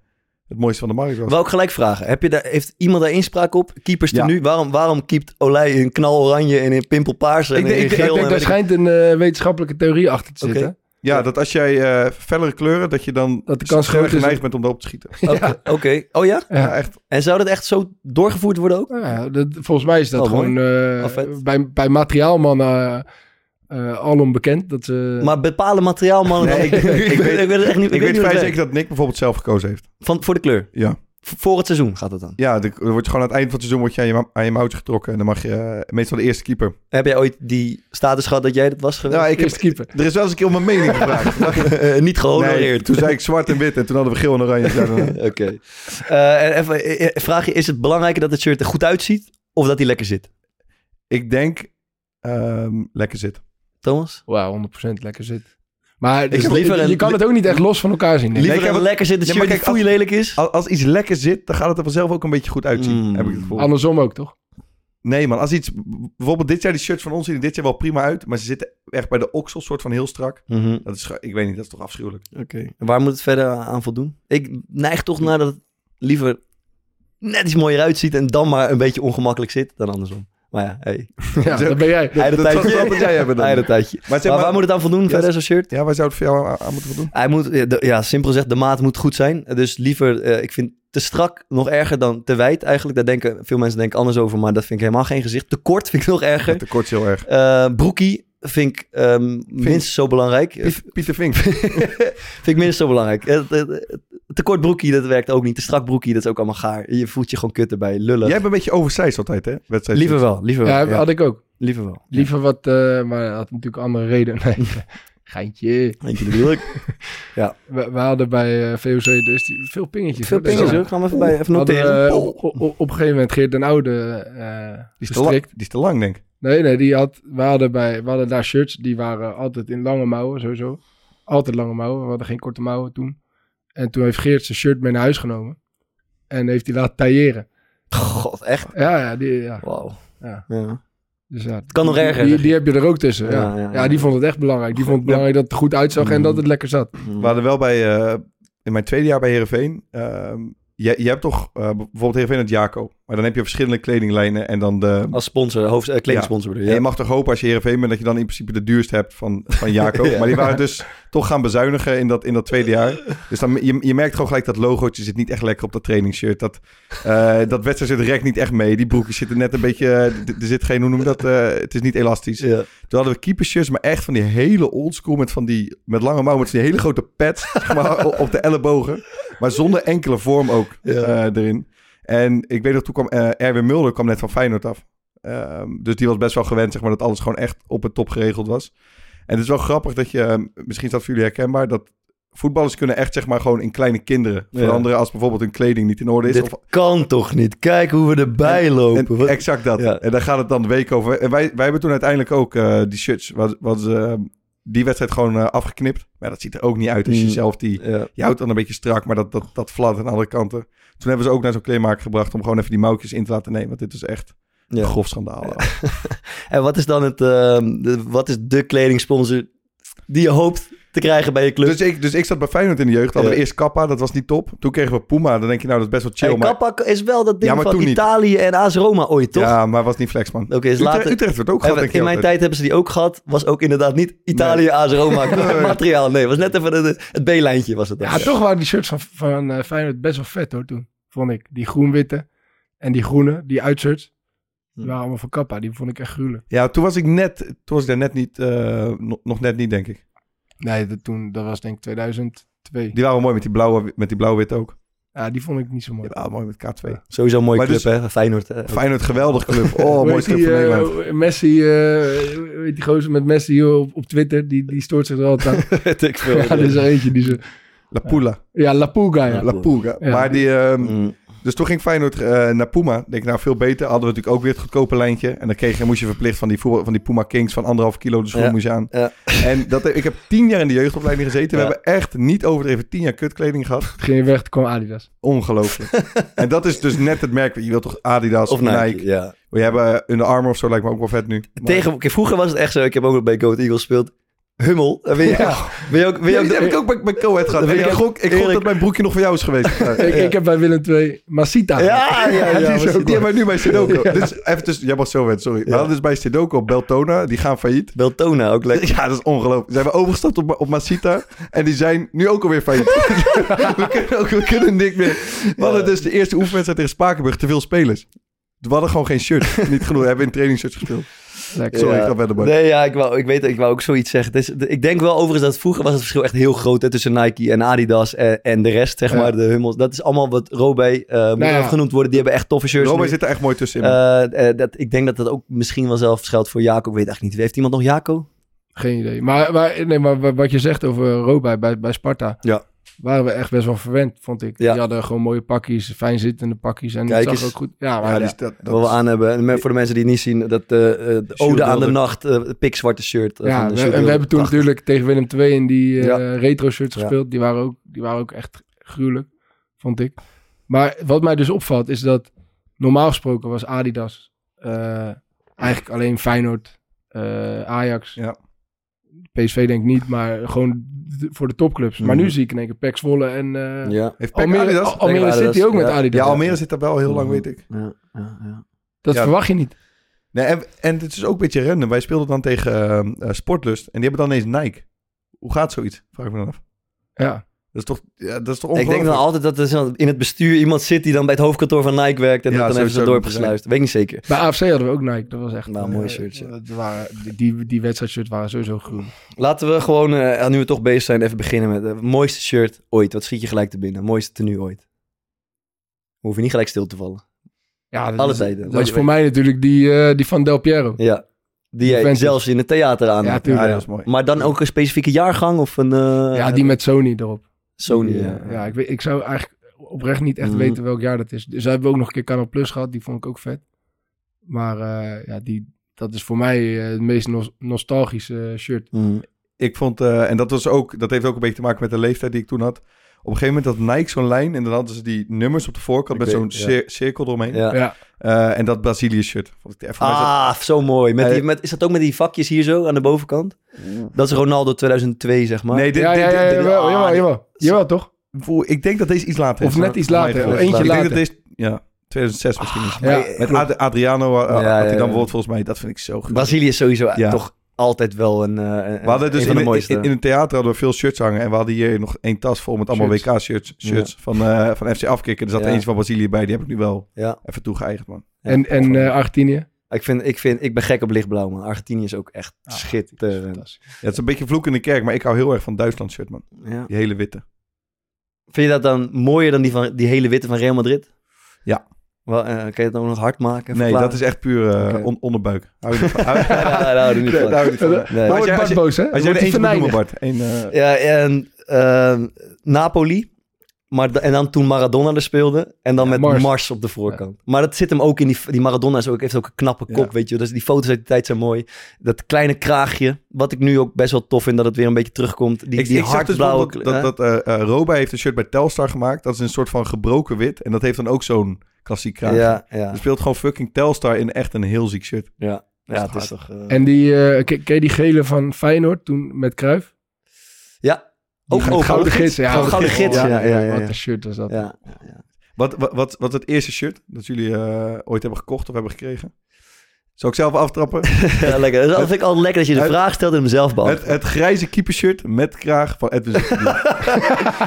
het mooiste van de markt was.
Wou ik gelijk vragen. Heb je daar, heeft iemand daar inspraak op? Keepers
Ja.
er nu? Waarom, waarom keept Olij in knaloranje en in pimpelpaars en
Ik, denk-
in
ik, ik
geel? en
denk, daar
weet ik-
schijnt een eh, wetenschappelijke theorie achter te
Oké.
zitten.
Ja, dat als jij eh, fellere kleuren... dat je dan
Dat de kans
sneller
groot is
geneigd
dat-
bent om erop te schieten.
Oké, oké. oh ja?
Ja.
Ja, echt.
En zou dat echt zo doorgevoerd worden ook?
Nou ja, dat, volgens mij is dat
Oh, mooi.
gewoon eh,
Oh, vet.
bij, bij materiaalmannen eh, eh, alom bekend. Dat ze,
Maar bepalen materiaalmannen...
Eh. Nee, ik- ik weet-
het echt niet.
Ik, weet
niet hoe
vrij
het
zeker
werkt.
dat Nick bijvoorbeeld zelf gekozen heeft.
Van, voor de kleur.
Ja.
V- voor het seizoen gaat het dan.
Ja, de- er wordt gewoon aan het eind van het seizoen word je aan je, ma- aan je mouwtje getrokken. En dan mag je eh, meestal de eerste keeper.
Heb jij ooit die status gehad dat jij dat was geweest?
Nou, ik heb,
Eerste keeper.
er is wel eens een keer om mijn mening gevraagd.
Eh, niet
Nou, nee,
gehonoreerd.
toen zei ik zwart en wit en toen hadden we geel en oranje. Ja, dan-
Oké. Eh, en even eh, eh, vraag je, is het belangrijker dat het shirt er goed uitziet of dat hij lekker zit?
ik denk, ehm, lekker zit.
Thomas?
Wauw, 100% lekker zit. Maar dus
heb
je-
liever een-
je kan het ook niet echt los van elkaar zien. denk ik.
Liever
ik heb
een
het-
lekker zitten
Nee,
shirt
maar
die
kijk, als-
foei lelijk is?
Al- Als iets lekker zit, dan gaat het er vanzelf ook een beetje goed uitzien.
Mm.
Heb ik het gevoel.
Andersom ook, toch?
Nee man, als iets, bijvoorbeeld dit jaar die shirts van ons zien er dit jaar wel prima uit. Maar ze zitten echt bij de oksel soort van heel strak.
Mhm.
Dat is, ge- ik weet niet, dat is toch afschuwelijk.
En Waar moet het verder aan voldoen? Ik neig toch naar dat het liever net iets mooier uitziet en dan maar een beetje ongemakkelijk zit dan andersom. Maar ja, hey.
Ja, dat ben jij.
Hij de
dat- dat-
tijdje.
dat moet jij hebben dan.
Hij de tijdje.
Maar, zeg
Maar
maar,
waar moet het aan voldoen verder, zo'n shirt?
Ja, waar zou het voor jou aan, aan moeten doen?
Hij moet, ja, de- ja, simpel gezegd, de maat moet goed zijn. Dus liever, eh, ik vind te strak nog erger dan te wijd eigenlijk. Daar denken veel mensen denken anders over, maar dat vind ik helemaal geen gezicht. Te kort vind ik nog erger.
Het tekort is heel erg.
Eh broekie vind ik ehm, minstens zo belangrijk. Eh,
Pieter Vink.
Vind ik minstens zo belangrijk. Eh, eh, eh, Te kort broekie, dat werkt ook niet. Te strak broekie, dat is ook allemaal gaar. Je voelt je gewoon kut erbij, lullen.
Jij bent een beetje oversized altijd, hè? Wedstrijd.
Liever wel, liever
Ja,
wel. Ja,
had ik ook.
Liever wel.
Liever wat, eh, maar dat had natuurlijk andere reden. Nee, geintje.
Eentje bedoel ik.
We, we hadden bij eh, VOC dus die- veel pingetjes.
Veel
hoor. Dus
pingels,
ja,
hoor. Gaan we even, bij, even
we hadden,
noteren.
eh, op, op- op een gegeven moment Geert den Oude eh
Die is, te lang,
gestrikt.
die is te lang, denk ik.
Nee, nee, die had, we, hadden bij, we hadden daar shirts, die waren altijd in lange mouwen, sowieso. Altijd lange mouwen, we hadden geen korte mouwen toen. En toen heeft Geert zijn shirt mee naar huis genomen. En heeft hij laten tailleren.
God, echt?
Ja, ja, die, ja.
Wauw.
Ja.
Ja.
Dus ja, het
kan nog erger.
Die, die heb je er ook tussen. Ja,
Ja,
ja, Mm.
ja, ja.
die vond het echt belangrijk. Die vond het
Ja.
belangrijk dat het er goed uitzag en dat het lekker zat.
We
Hmm.
hadden wel bij, eh, in mijn tweede jaar bij Herenveen. je, je hebt toch eh, bijvoorbeeld Herenveen het Jaco. Maar dan heb je verschillende kledinglijnen en dan de.
Als sponsor, hoofd, eh, kledingsponsor bedoel je,
en
Oh, ja.
je mag toch hopen als je Herenveen bent dat je dan in principe de duurste hebt van, van Jaco.
Ja.
Maar die waren dus toch gaan bezuinigen in dat, in dat tweede jaar. Dus dan, je, je merkt gewoon gelijk dat logootje zit niet echt lekker op dat trainingsshirt. Dat, eh dat wedstrijd zit rek niet echt mee. Die broekjes zitten net een beetje. eh, d- Er zit geen, hoe noem je dat? eh, het is niet elastisch.
Ja.
Toen hadden we keepershirts, maar echt van die hele oldschool met van die met lange mouwen, met die hele grote pet zeg maar, op de ellebogen, maar zonder enkele vorm ook eh, erin. En ik weet nog, toen kwam eh, Erwin Mulder kwam net van Feyenoord af, Ehm, dus die was best wel gewend zeg maar dat alles gewoon echt op het top geregeld was. En het is wel grappig dat je, eh, misschien is dat voor jullie herkenbaar, dat voetballers kunnen echt zeg maar gewoon in kleine kinderen
Ja.
veranderen als bijvoorbeeld hun kleding niet in orde is.
Dit
of
kan toch niet? Kijk hoe we erbij
en
lopen. Wat-
exact dat.
Ja.
En daar gaat het dan de week over. En wij, wij hebben toen uiteindelijk ook eh, die shirts, wat, wat, eh, die wedstrijd gewoon eh, afgeknipt. Maar dat ziet er ook niet uit als je
Mm.
zelf die...
ja.
Je houdt dan een beetje strak, maar dat, dat, dat fladdert aan de andere kanten. Toen hebben we ze ook naar zo'n kleermaker gebracht om gewoon even die mouwtjes in te laten nemen. Want dit is echt
Ja.
een grof schandaal.
En wat is dan het, ehm, de- wat is de kledingsponsor die je hoopt te krijgen bij je club?
Dus ik, dus ik zat bij Feyenoord in de jeugd. Hadden we
Ja.
eerst Kappa, dat was niet top. Toen kregen we Puma, dan denk je nou dat is best wel chill.
Hey,
maar,
Kappa is wel dat ding
Ja, maar
van
toen niet.
Italië en AS Roma ooit, toch?
Ja, maar was niet flex man.
Oké, is
Utrecht,
later-
Utrecht werd ook
En
gehad
wat-
denk ik
in mijn
altijd.
tijd hebben ze die ook gehad. Was ook inderdaad niet Italië, AS Roma materiaal. Nee, was net even de- het B-lijntje was het. dan.
Ja, toch waren die shirts van, van eh, Feyenoord best wel vet hoor toen, vond ik. Die groen-witte en die groene, die uitshirts, die waren allemaal van Kappa. Die vond ik echt gruwelijk.
Ja, toen was ik net, toen was ik daar net niet, eh, nog- nog net niet denk ik.
Nee, dat, toen, dat was denk ik 2002.
Die waren wel mooi met die blauwe, met die blauwe wit ook.
ja, die vond ik niet zo mooi.
Die waren mooi met K2.
Sowieso een mooie
Maar
club,
dus-
hè? Feyenoord. hè?
Feyenoord, geweldig club. Oh,
Hoe
mooi
heet
club
die,
van
eh,
Nederland.
Messi, eh, hoe heet die gozer met Messi joh, op, op Twitter, die, die stoort zich er altijd aan.
Weet ik veel.
ja, er is er eentje die ze...
La Pula.
Ja, La Pulga, ja.
La Pulga.
Ja.
Maar die, ehm,
Mm.
dus toen ging Feyenoord eh, naar Puma. Denk ik, nou veel beter. Hadden we natuurlijk ook weer het goedkope lijntje. En dan kreeg je, moest je verplicht van die, voetbal- van die Puma Kings van anderhalf kilo de schoen
Ja.
moest je aan.
Ja.
En dat, ik heb tien jaar in de jeugdopleiding gezeten.
Ja.
We hebben echt niet overdreven tien jaar kutkleding gehad.
Het ging weg, toen kwam Adidas.
Ongelooflijk. en dat is dus net het merk. Je wilt toch Adidas of
Of Nike,
Nike.
ja.
We hebben eh, Under Armour of zo lijkt me ook wel vet nu. Maar-
Tegen, oké, vroeger was het echt zo, ik heb ook nog bij Goat Eagles gespeeld. Hummel, dan ben je, ben je ook... Ben je
Ja,
ook
die heb ik ook bij, bij Coed gehad.
Dan ben
En
je
ik
ook-
gok, ik gok
Erik-
dat mijn broekje nog voor jou is geweest. Ja,
Ik, ik heb bij Willem II Masita.
ja, ja, ja,
die, is
was
ook, die
die
hebben wij nu bij Sudoku. Dus even tussen, jij mag zo weten, sorry. We hadden dus bij Sudoku op Beltona, die gaan failliet.
Beltona, ook lekker.
Ja, dat is ongelooflijk. Zijn we overgestapt op, op Masita en die zijn nu ook alweer failliet. we, kunnen ook, we kunnen niks meer. We hadden dus de eerste oefenwedstrijd tegen Spakenburg te veel spelers. We hadden gewoon geen shirt. Niet genoeg. We hebben in trainingsshirts gespeeld.
Lekker.
Sorry,
Ja.
ik ga verder. maar-
Nee, ja, ik wou, ik, weet, ik wou ook zoiets zeggen. Het is- de- ik denk wel overigens dat vroeger was het verschil echt heel groot hè, tussen Nike en Adidas en, en de rest, zeg
Ja.
maar, de Hummels. Dat is allemaal wat Robey eh, moet
ja.
even genoemd worden. Die hebben echt toffe shirts
Robin
nu.
Nou zit er echt mooi tussenin.
Eh, eh, dat, ik denk dat dat ook misschien wel zelf geldt voor Jaco. Ik weet echt niet. Heeft iemand nog Jaco?
Geen idee. Maar, maar, nee, maar wa- wat je zegt over Robij bij, bij Sparta.
Ja.
Waren we echt best wel verwend, vond ik.
Ja.
Die hadden gewoon mooie pakjes, fijn zittende pakjes. En
Kijk
het
eens.
zag ook goed. Ja, maar
ja, die
ja.
is- dat, dat
Wat we
is-
aan hebben. En me- voor de mensen die het niet zien, dat eh, eh, de Ode aan de Nacht, eh, pikzwarte shirt. eh,
Ja,
van de
we-
Sjoerd
en we
Wilde.
hebben toen
Prachtig.
natuurlijk tegen Willem II in die eh,
Ja.
retro shirts
Ja.
gespeeld. Die waren, ook, die waren ook echt gruwelijk, vond ik. Maar wat mij dus opvalt is dat normaal gesproken was Adidas eh, eigenlijk alleen Feyenoord, eh, Ajax.
Ja.
PSV denk ik niet, maar gewoon d- voor de topclubs. Maar nu zie ik in één keer Pek Zwolle en eh
Mhm. Ja.
Heeft Peck
Almere,
Adidas?
Al- Almere
Adidas,
City ook met
ja.
Adidas.
Ja, Almere zit daar wel heel lang, weet ik.
Ja, ja, ja.
Dat
Ja.
verwacht je niet.
Nee, en, en het is ook een beetje random. Wij speelden dan tegen ehm, eh, Sportlust en die hebben dan ineens Nike. Hoe gaat zoiets? Vraag ik me dan af.
Ja.
Dat is toch, ja, dat is toch
Ik
ongelooflijk?
denk dan altijd dat er zo- in het bestuur iemand zit die dan bij het hoofdkantoor van Nike werkt en
Ja,
dat dan
sowieso
even zo
moet het
doorgesluist. Weet ik niet zeker.
Bij AFC hadden we ook Nike. Dat was echt...
Nou,
eh,
mooie shirts, ja.
dat waren, die- die, die wedstrijdshirts waren sowieso groen.
Laten we gewoon, eh, nu we toch bezig zijn, even beginnen met het mooiste shirt ooit. Wat schiet je gelijk te binnen? Mooiste tenue ooit. Hoef je niet gelijk stil te vallen.
Ja, dat
Alle
is,
tijden.
Dat is voor mij natuurlijk die, eh, die van Del Piero.
Ja. Die jij
Juventus.
zelfs in het theater aan.
Ja,
had.
Ja,
tuurlijk.
dat is mooi.
maar dan ook een specifieke jaargang of een eh,
Ja, die met Sony erop.
Sony.
Die, eh,
ja.
ja. ik, weet, ik zou eigenlijk oprecht niet echt
Mhm.
weten welk jaar dat is. Dus we hebben ook nog een keer Canal Plus gehad. Die vond ik ook vet. Maar eh, ja, die, dat is voor mij eh, het meest nos- nostalgische eh, shirt.
Mm.
Ik vond, eh, en dat, was ook, dat heeft ook een beetje te maken met de leeftijd die ik toen had. Op een gegeven moment had Nike zo'n lijn en dan hadden ze die nummers op de voorkant
Ik
met zo'n
weet- ja.
cir- cirkel eromheen.
Ja.
Ja.
Eh, en dat Brazilië shirt. Vond ik echt voor mij is dat-
Ah, zo mooi. Met die,
Eh,
met, is dat ook met die vakjes hier zo aan de bovenkant? Dat is Ronaldo 2002, zeg maar.
Nee, dit,
Ja,
dit-
ja,
dit-
ja,
dit-
jawel,
ah,
jawel,
dit-
jawel. Jawel, toch?
Voel- Ik denk dat deze iets later is.
Of net
hoor,
iets
voor mij
later,
gevoel.
of eentje
ik
later.
denk dat deze... Ja, 2006 misschien. is.
Ja.
Met Ad- Adriano eh,
Ah, Ja,
had
ja,
hij
ja.
dan bijvoorbeeld volgens mij. Dat vind ik zo goed.
Brazilië is sowieso
Ja.
toch altijd wel een, eh, een,
We hadden dus
een
in,
van de
de
mooiste.
in, in het theater hadden we veel shirts hangen. En we hadden hier nog één tas vol met allemaal
Shirts.
WK-shirts shirts van, eh, van FC Afkikken. Er zat
Ja.
eentje van Brazilië bij. Die heb ik nu wel
Ja.
even toegeëigend, man.
Ja.
en en eh, Argentinië?
ik, vind, ik, vind, ik ben gek op lichtblauw, man. Argentinië is ook echt schitterend.
Ja, het is een beetje vloek in de kerk, maar ik hou heel erg van Duitsland shirt, man.
Ja.
Die hele witte.
Vind je dat dan mooier dan die, van, die hele witte van Real Madrid?
Ja.
Wel, eh, kan je dat ook nog hard maken?
Nee, dat is echt puur eh,
Oké.
on- onderbuik. Hou je niet van. Hou-
Ja, daar- daar houden we niet
Nee,
van.
daar hou ik niet Nou, van.
Nee.
Dan wordt
als jij- als
Bart
jij-
boos, hè?
Als
Wordt
jij
hij
er eentje moet noemen,
venijnigd.
Bart. Eén, eh,
Ja, en ehm, Napoli. Maar da- en dan toen Maradona er speelde. En dan
Ja,
met Mars.
Mars.
op de voorkant. Maar dat zit hem ook in die... Die Maradona is ook, heeft ook een knappe kop,
Ja.
weet je. wel. Dus die foto's uit die tijd zijn mooi. Dat kleine kraagje. Wat ik nu ook best wel tof vind, dat het weer een beetje terugkomt. Die,
ik,
die
ik zag dus
hardblauwe...
wel dat, dat, dat eh, eh, Roba heeft een shirt bij Telstar gemaakt. Dat is een soort van gebroken wit. En dat heeft dan ook zo'n klassiek kraag.
ja, ja,
Er speelt gewoon fucking Telstar in echt een heel ziek shirt.
ja. Ja,
Dat
het
is
is toch... eh,
En die, eh, ken ken je die gele van Feyenoord toen met Cruijff?
ja.
Die
Ook
met
ook
gouden gids.
Ja,
Ja,
gouden gouden gids. Ja, ja, ja. ja,
Wat een shirt was dat.
Ja.
Wat, wat, wat, wat het eerste shirt dat jullie eh, ooit hebben gekocht of hebben gekregen? Zal ik zelf aftrappen?
Ja, lekker. Dat vind ik altijd lekker dat je de
Het-
vraag stelt en hem zelf beantwoordt.
het, het grijze keepershirt met kraag van Edwin Zulferdien.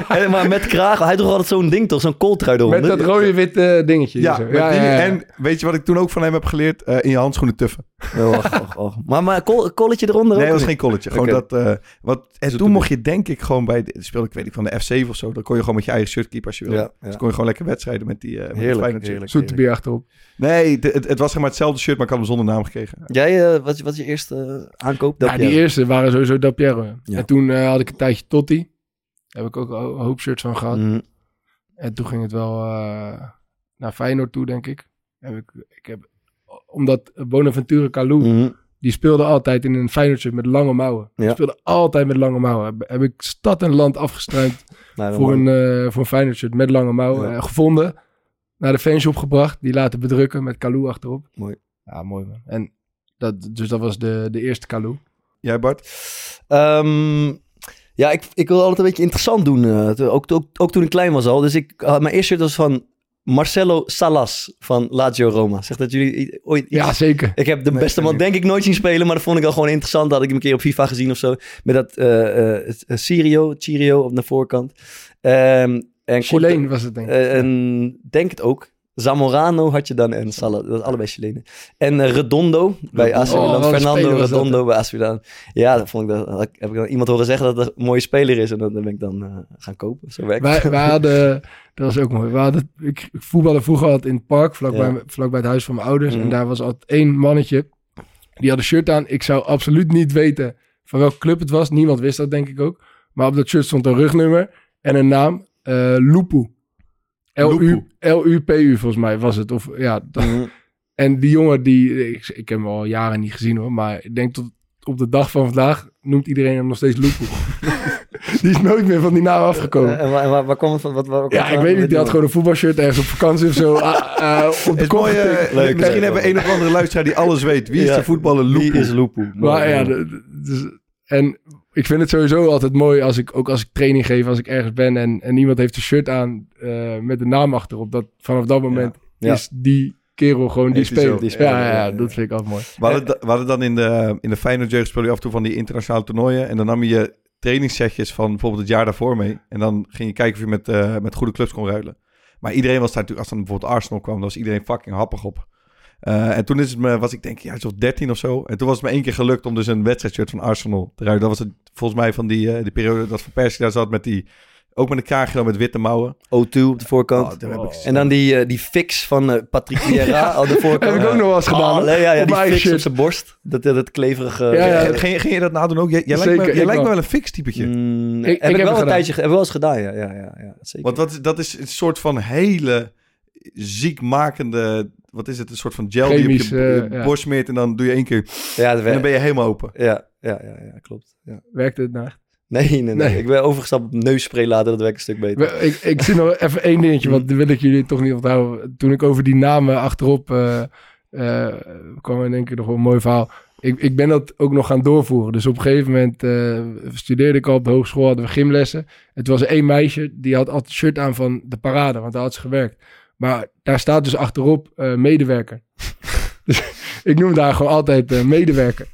En- Maar met kraag, hij droeg altijd zo'n ding toch, zo'n kooltrui eronder.
Met dat rode-witte dingetje.
ja,
hier zo.
met die- En weet je wat ik toen ook van hem heb geleerd? Eh, in je handschoenen tuffen.
Oh, och, och, och. Maar, maar kol, kolletje
Nee,
eronder ook
dat was
niet?
geen colletje. Gewoon
Oké.
dat, eh, wat, en toen mocht je denk ik gewoon bij, de, speelde ik weet ik van de F7 of zo. Dan kon je gewoon met je eigen shirt keeper als je wilde.
Ja, ja.
Dus kon je gewoon lekker wedstrijden met die eh met die Feyenoord
Heerlijk,
shirt.
heerlijk.
Zoete
heerlijk.
bier achterop.
Nee, de- het, het was zeg maar hetzelfde shirt, maar ik had hem zonder naam gekregen.
Jij, eh, wat, wat is je eerste eh, aankoop?
Ja, die
Jij-
eerste waren sowieso Da Piero.
Ja.
En toen eh, had ik een tijdje Totti. Daar heb ik ook een hoop shirts van gehad.
Mm,
En toen ging het wel eh, naar Feyenoord toe, denk ik. Heb ik, ik heb, omdat Bonaventure Kalou,
mm.
die speelde altijd in een Feyenoord shirt met lange mouwen. Die
Ja.
speelde altijd met lange mouwen. Heb, heb ik stad en land afgestruimd
Nou, dan
voor,
mooi.
een, eh voor een Feyenoord shirt met lange mouwen.
Ja.
eh, gevonden, naar de fanshop gebracht, die laten bedrukken met Kalou achterop.
Mooi.
Ja, mooi man. En dat, dus dat was de, de eerste Kalou.
Jij Bart?
Ehm, ja, ik, ik wil altijd een beetje interessant doen. eh, to- ook, ook, ook toen ik klein was al. Dus ik, had mijn eerste shirt was van Marcelo Salas van Lazio Roma. Zegt dat jullie i- ooit iets...
Ja, zeker.
Ik heb de beste man denk ik nooit zien spelen, maar dat vond ik al gewoon interessant. Dat had ik hem een keer op FIFA gezien of zo. Met dat eh eh het- eh, Sirio, Chirio op de voorkant. Ehm en
Chileen was het denk ik.
Eh, en denk het ook. Zamorano had je dan en Salah, dat was allebei Chilenen. En eh, Redondo bij AC
Oh,
Milan.
wat een
Fernando
speler was dat,
Redondo bij AC Milan. Ja, dat vond ik dat, had ik- heb ik dan iemand horen zeggen dat dat een mooie speler is. En dat ben ik dan eh, gaan kopen. Zo werkt
Wij,
het.
wij hadden, dat was ook mooi. We hadden, ik ik voetbalde vroeger altijd in het park, vlakbij
Ja.
bij vlak bij het huis van mijn ouders.
Mhm.
En daar was altijd één mannetje, die had een shirt aan. Ik zou absoluut niet weten van welke club het was. Niemand wist dat, denk ik ook. Maar op dat shirt stond een rugnummer en een naam. eh Lupu.
Lupu.
L-U- L-U-P-U volgens mij was het. Of, ja, dat-
Mhm.
en die jongen, die, ik, ik heb hem al jaren niet gezien hoor. Maar ik denk tot op de dag van vandaag noemt iedereen hem nog steeds Lupu. die is nooit meer van die naam afgekomen.
Eh, en waar, en waar, waar kwam het van? Wat, waar, waar kwam
Ja,
het
ik
van?
weet niet. Die had
ik
gewoon een voetbalshirt ergens op vakantie of zo. ah, eh, op de
Is
kop
mooi, eh,
getikt.
Leuk,
misschien
leuk,
hebben
leuk.
een of andere luisteraar die alles weet. Wie is
Ja.
de voetballer
niet.
Loep?
Wie is Loepoe?
Maar ja, de- de- dus, en ik vind het sowieso altijd mooi als ik, ook als ik training geef, als ik ergens ben en, en iemand heeft een shirt aan eh, met de naam achterop. Dat vanaf dat moment
Ja.
is die kerel gewoon die
Heeft hij zo.
speelt.
Die
Ja,
speler,
ja,
ja,
ja,
ja.
dat vind ik altijd mooi.
We hadden, da- we hadden dan in de, in de Feyenoord jeugd speelde je af en toe van die internationale toernooien. En dan nam je je trainingssetjes van bijvoorbeeld het jaar daarvoor mee. En dan ging je kijken of je met, eh, met goede clubs kon ruilen. Maar iedereen was daar natuurlijk, als dan bijvoorbeeld Arsenal kwam, dan was iedereen fucking happig op. Eh, en toen is het me, was ik denk ik, ja, zo'n 13 of zo. En toen was het me één keer gelukt om dus een wedstrijdshirt van Arsenal te ruilen. Dat was het volgens mij van die, eh, die periode dat Van Persie daar zat met die, ook met een kraagje dan met witte mouwen.
O2 op de voorkant.
Oh, daar heb ik-
en dan die, eh, die fix van eh, Patrick Vieira op de voorkant.
Heb ik ook nog wel eens gedaan,
Oh,
hoor.
nee, ja, ja,
Op
die
mijn
fix
shirt.
op zijn borst. Dat, dat, dat kleverige...
Ja, ja,
Eh, ging, ging je dat nadoen ook? Jij, jij lijkt,
Zeker,
me, jij
ik
lijkt me
wel.
wel een fix typetje.
Ik-
Mm,
ik
heb
heb het
ik wel een
gedaan.
tijdje ge- heb ik wel eens gedaan, ja. ja, ja, ja zeker.
Want dat, is- dat is een soort van hele ziekmakende, wat is het, een soort van gel
Chemisch,
die je op je
eh, ja.
borst smeert en dan doe je één keer
ja, dat
en dan
wer-
ben je helemaal open.
ja, ja, ja, ja, klopt. Ja.
Werkt het nou?
Nee, nee, nee,
Nee.
Ik ben overgestapt op neusspray later. Dat werkt een stuk beter.
Ik, ik zie nog even één dingetje, want dat wil ik jullie toch niet onthouden. Toen ik over die namen achterop eh eh, kwam in één keer nog wel een mooi verhaal. Ik, ik ben dat ook nog gaan doorvoeren. Dus op een gegeven moment eh, studeerde ik al op de hogeschool, hadden we gymlessen. Het was één meisje, die had altijd het shirt aan van de parade, want daar had ze gewerkt. Maar daar staat dus achterop eh, medewerker. dus ik noemde haar gewoon altijd eh, medewerker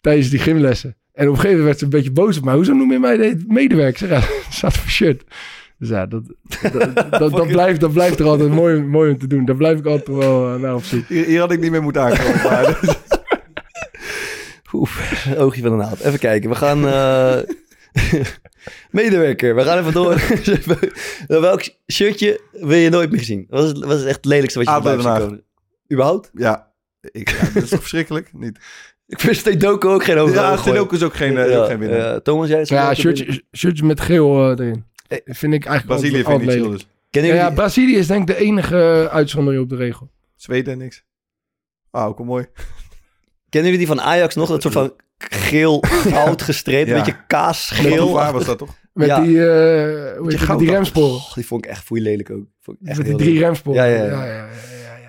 tijdens die gymlessen. En op een gegeven moment werd ze een beetje boos op mij. Hoezo noem je mij de- medewerker? Ik zeg, ja, het staat voor shirt. Dus ja, dat, dat, dat, dat blijft, dat blijft er altijd mooi, mooi om te doen. Daar blijf ik altijd wel eh, naar op zoek.
Hier, hier had ik niet meer moeten aankomen. maar-
Oef, een oogje van een naald. Even kijken, we gaan... eh, Medewerker, we gaan even door. Welk shirtje wil je nooit meer zien? Wat is, wat is echt het lelijkste wat je
ADO
voorbij
Den
hebt
Haag.
gekomen? Überhaupt?
ja. Ik, ja, dat is toch verschrikkelijk? Niet.
Ik vind Stedoku ook
Oh,
geen overal
Ja,
gooien.
Sudoku is ook geen, eh,
Ja,
ook geen winnaar.
ja. Thomas, jij?
Dus Ja,
Sudoku
shirtjes,
binnen?
shirtjes met geel eh, erin.
Eh,
Vind ik eigenlijk
Brazilië
altijd-
vind ik
altijd
chill
lelijk.
dus.
Ken
Ja,
je
ja, Brazilië is denk ik de enige eh, uitzondering op de regel.
Zweden niks. Ah, ook wel mooi.
Kennen jullie die van Ajax nog? Dat soort van geel, goud gestreept,
Ja.
een beetje
Heel
kaasgeel.
waar was dat toch?
Met
Ja.
die, eh hoe heet het, met die remsporen.
Oh, die vond ik echt foei lelijk ook. Vond ik echt
Met die
heel
drie remsporen.
Ja, ja, ja.
ja, ja.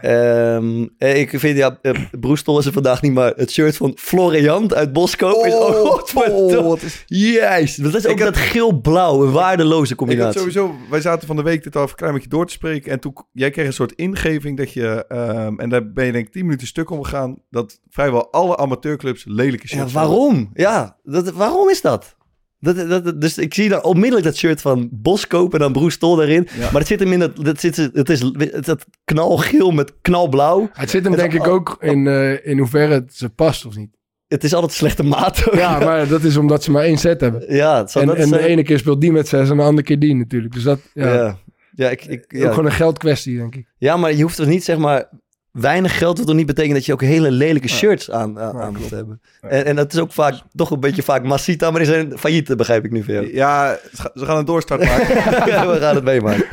Ehm, eh, ik vind, ja, eh, Broestel is er vandaag niet, maar het shirt van Florian uit Boskoop is ook
oh,
godverdomme.
wat is...
Yes, dat is ook
heb-
dat geel-blauw, een waardeloze
Ik had
combinatie.
sowieso, wij zaten van de week dit al even een klein beetje door te spreken. En toen, jij kreeg een soort ingeving dat je, ehm, en daar ben je denk ik 10 minuten stuk om gegaan, dat vrijwel alle amateurclubs lelijke shirts
Ja,
hebben.
waarom? Ja, dat, waarom is dat? Dat, dat, dat- dus ik zie dan onmiddellijk dat shirt van Boskoop en dan Broestel daarin. Maar het zit hem in dat, dat, zit, het is het, dat knalgeel met knalblauw.
Het zit hem denk ik ook in, eh, in hoeverre het ze past of niet.
Het is altijd slechte maat. ook.
Ja, maar dat is omdat ze maar één set hebben.
ja het zou
En,
dat
en de
zijn.
ene keer speelt die met zes en de andere keer die natuurlijk. Dus dat ja,
Ja, ja. ik, ik,
ook
ja.
gewoon een geldkwestie, denk ik.
Ja, maar je hoeft er niet, zeg maar... Weinig geld wil toch niet betekenen dat je ook hele lelijke shirts aan, aan, aan moet hebben. En, en dat is ook vaak, toch een beetje vaak Masita, maar die zijn failliet, begrijp ik nu van jou.
Ja, ze ga- ze gaan een doorstart maken. Dus, eh,
We gaan het meemaken.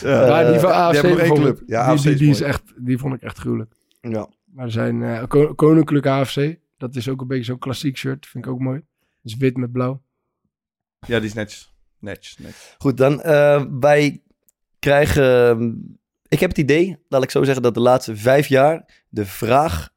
Ja.
maar die van
die
AFC
hebben nog één
bijvoorbeeld,
club. Ja,
die,
AFC
die,
is
die is
mooi.
echt, die vond ik echt gruwelijk.
Ja.
Maar er zijn eh, ko- Koninklijk AFC, dat is ook een beetje zo'n klassiek shirt, vind ik ook mooi. Dus wit met blauw.
ja, die is netjes. Netjes, netjes.
Goed, dan eh, wij krijgen... ehm, Ik heb het idee, laat ik zo zeggen, dat de laatste vijf jaar... de vraag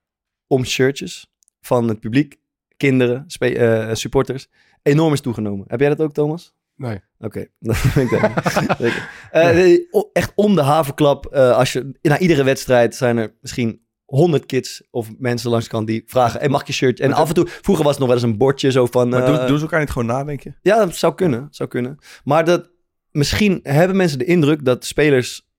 om shirtjes van het publiek, kinderen, spe- eh, supporters... enorm is toegenomen. Heb jij dat ook, Thomas?
Nee.
Oké, dat vind ik dan. Zeker. Eh, nee, o- echt om de havenklap. eh, als je, na iedere wedstrijd zijn er misschien honderd kids of mensen langs de kant die vragen: en mag ik je shirt? En af en toe, vroeger was het nog wel eens een bordje zo van.
Maar
eh,
doen, doen ze elkaar niet gewoon nadenken?
Ja, dat zou kunnen, zou kunnen. Maar dat, misschien hebben mensen de indruk dat spelers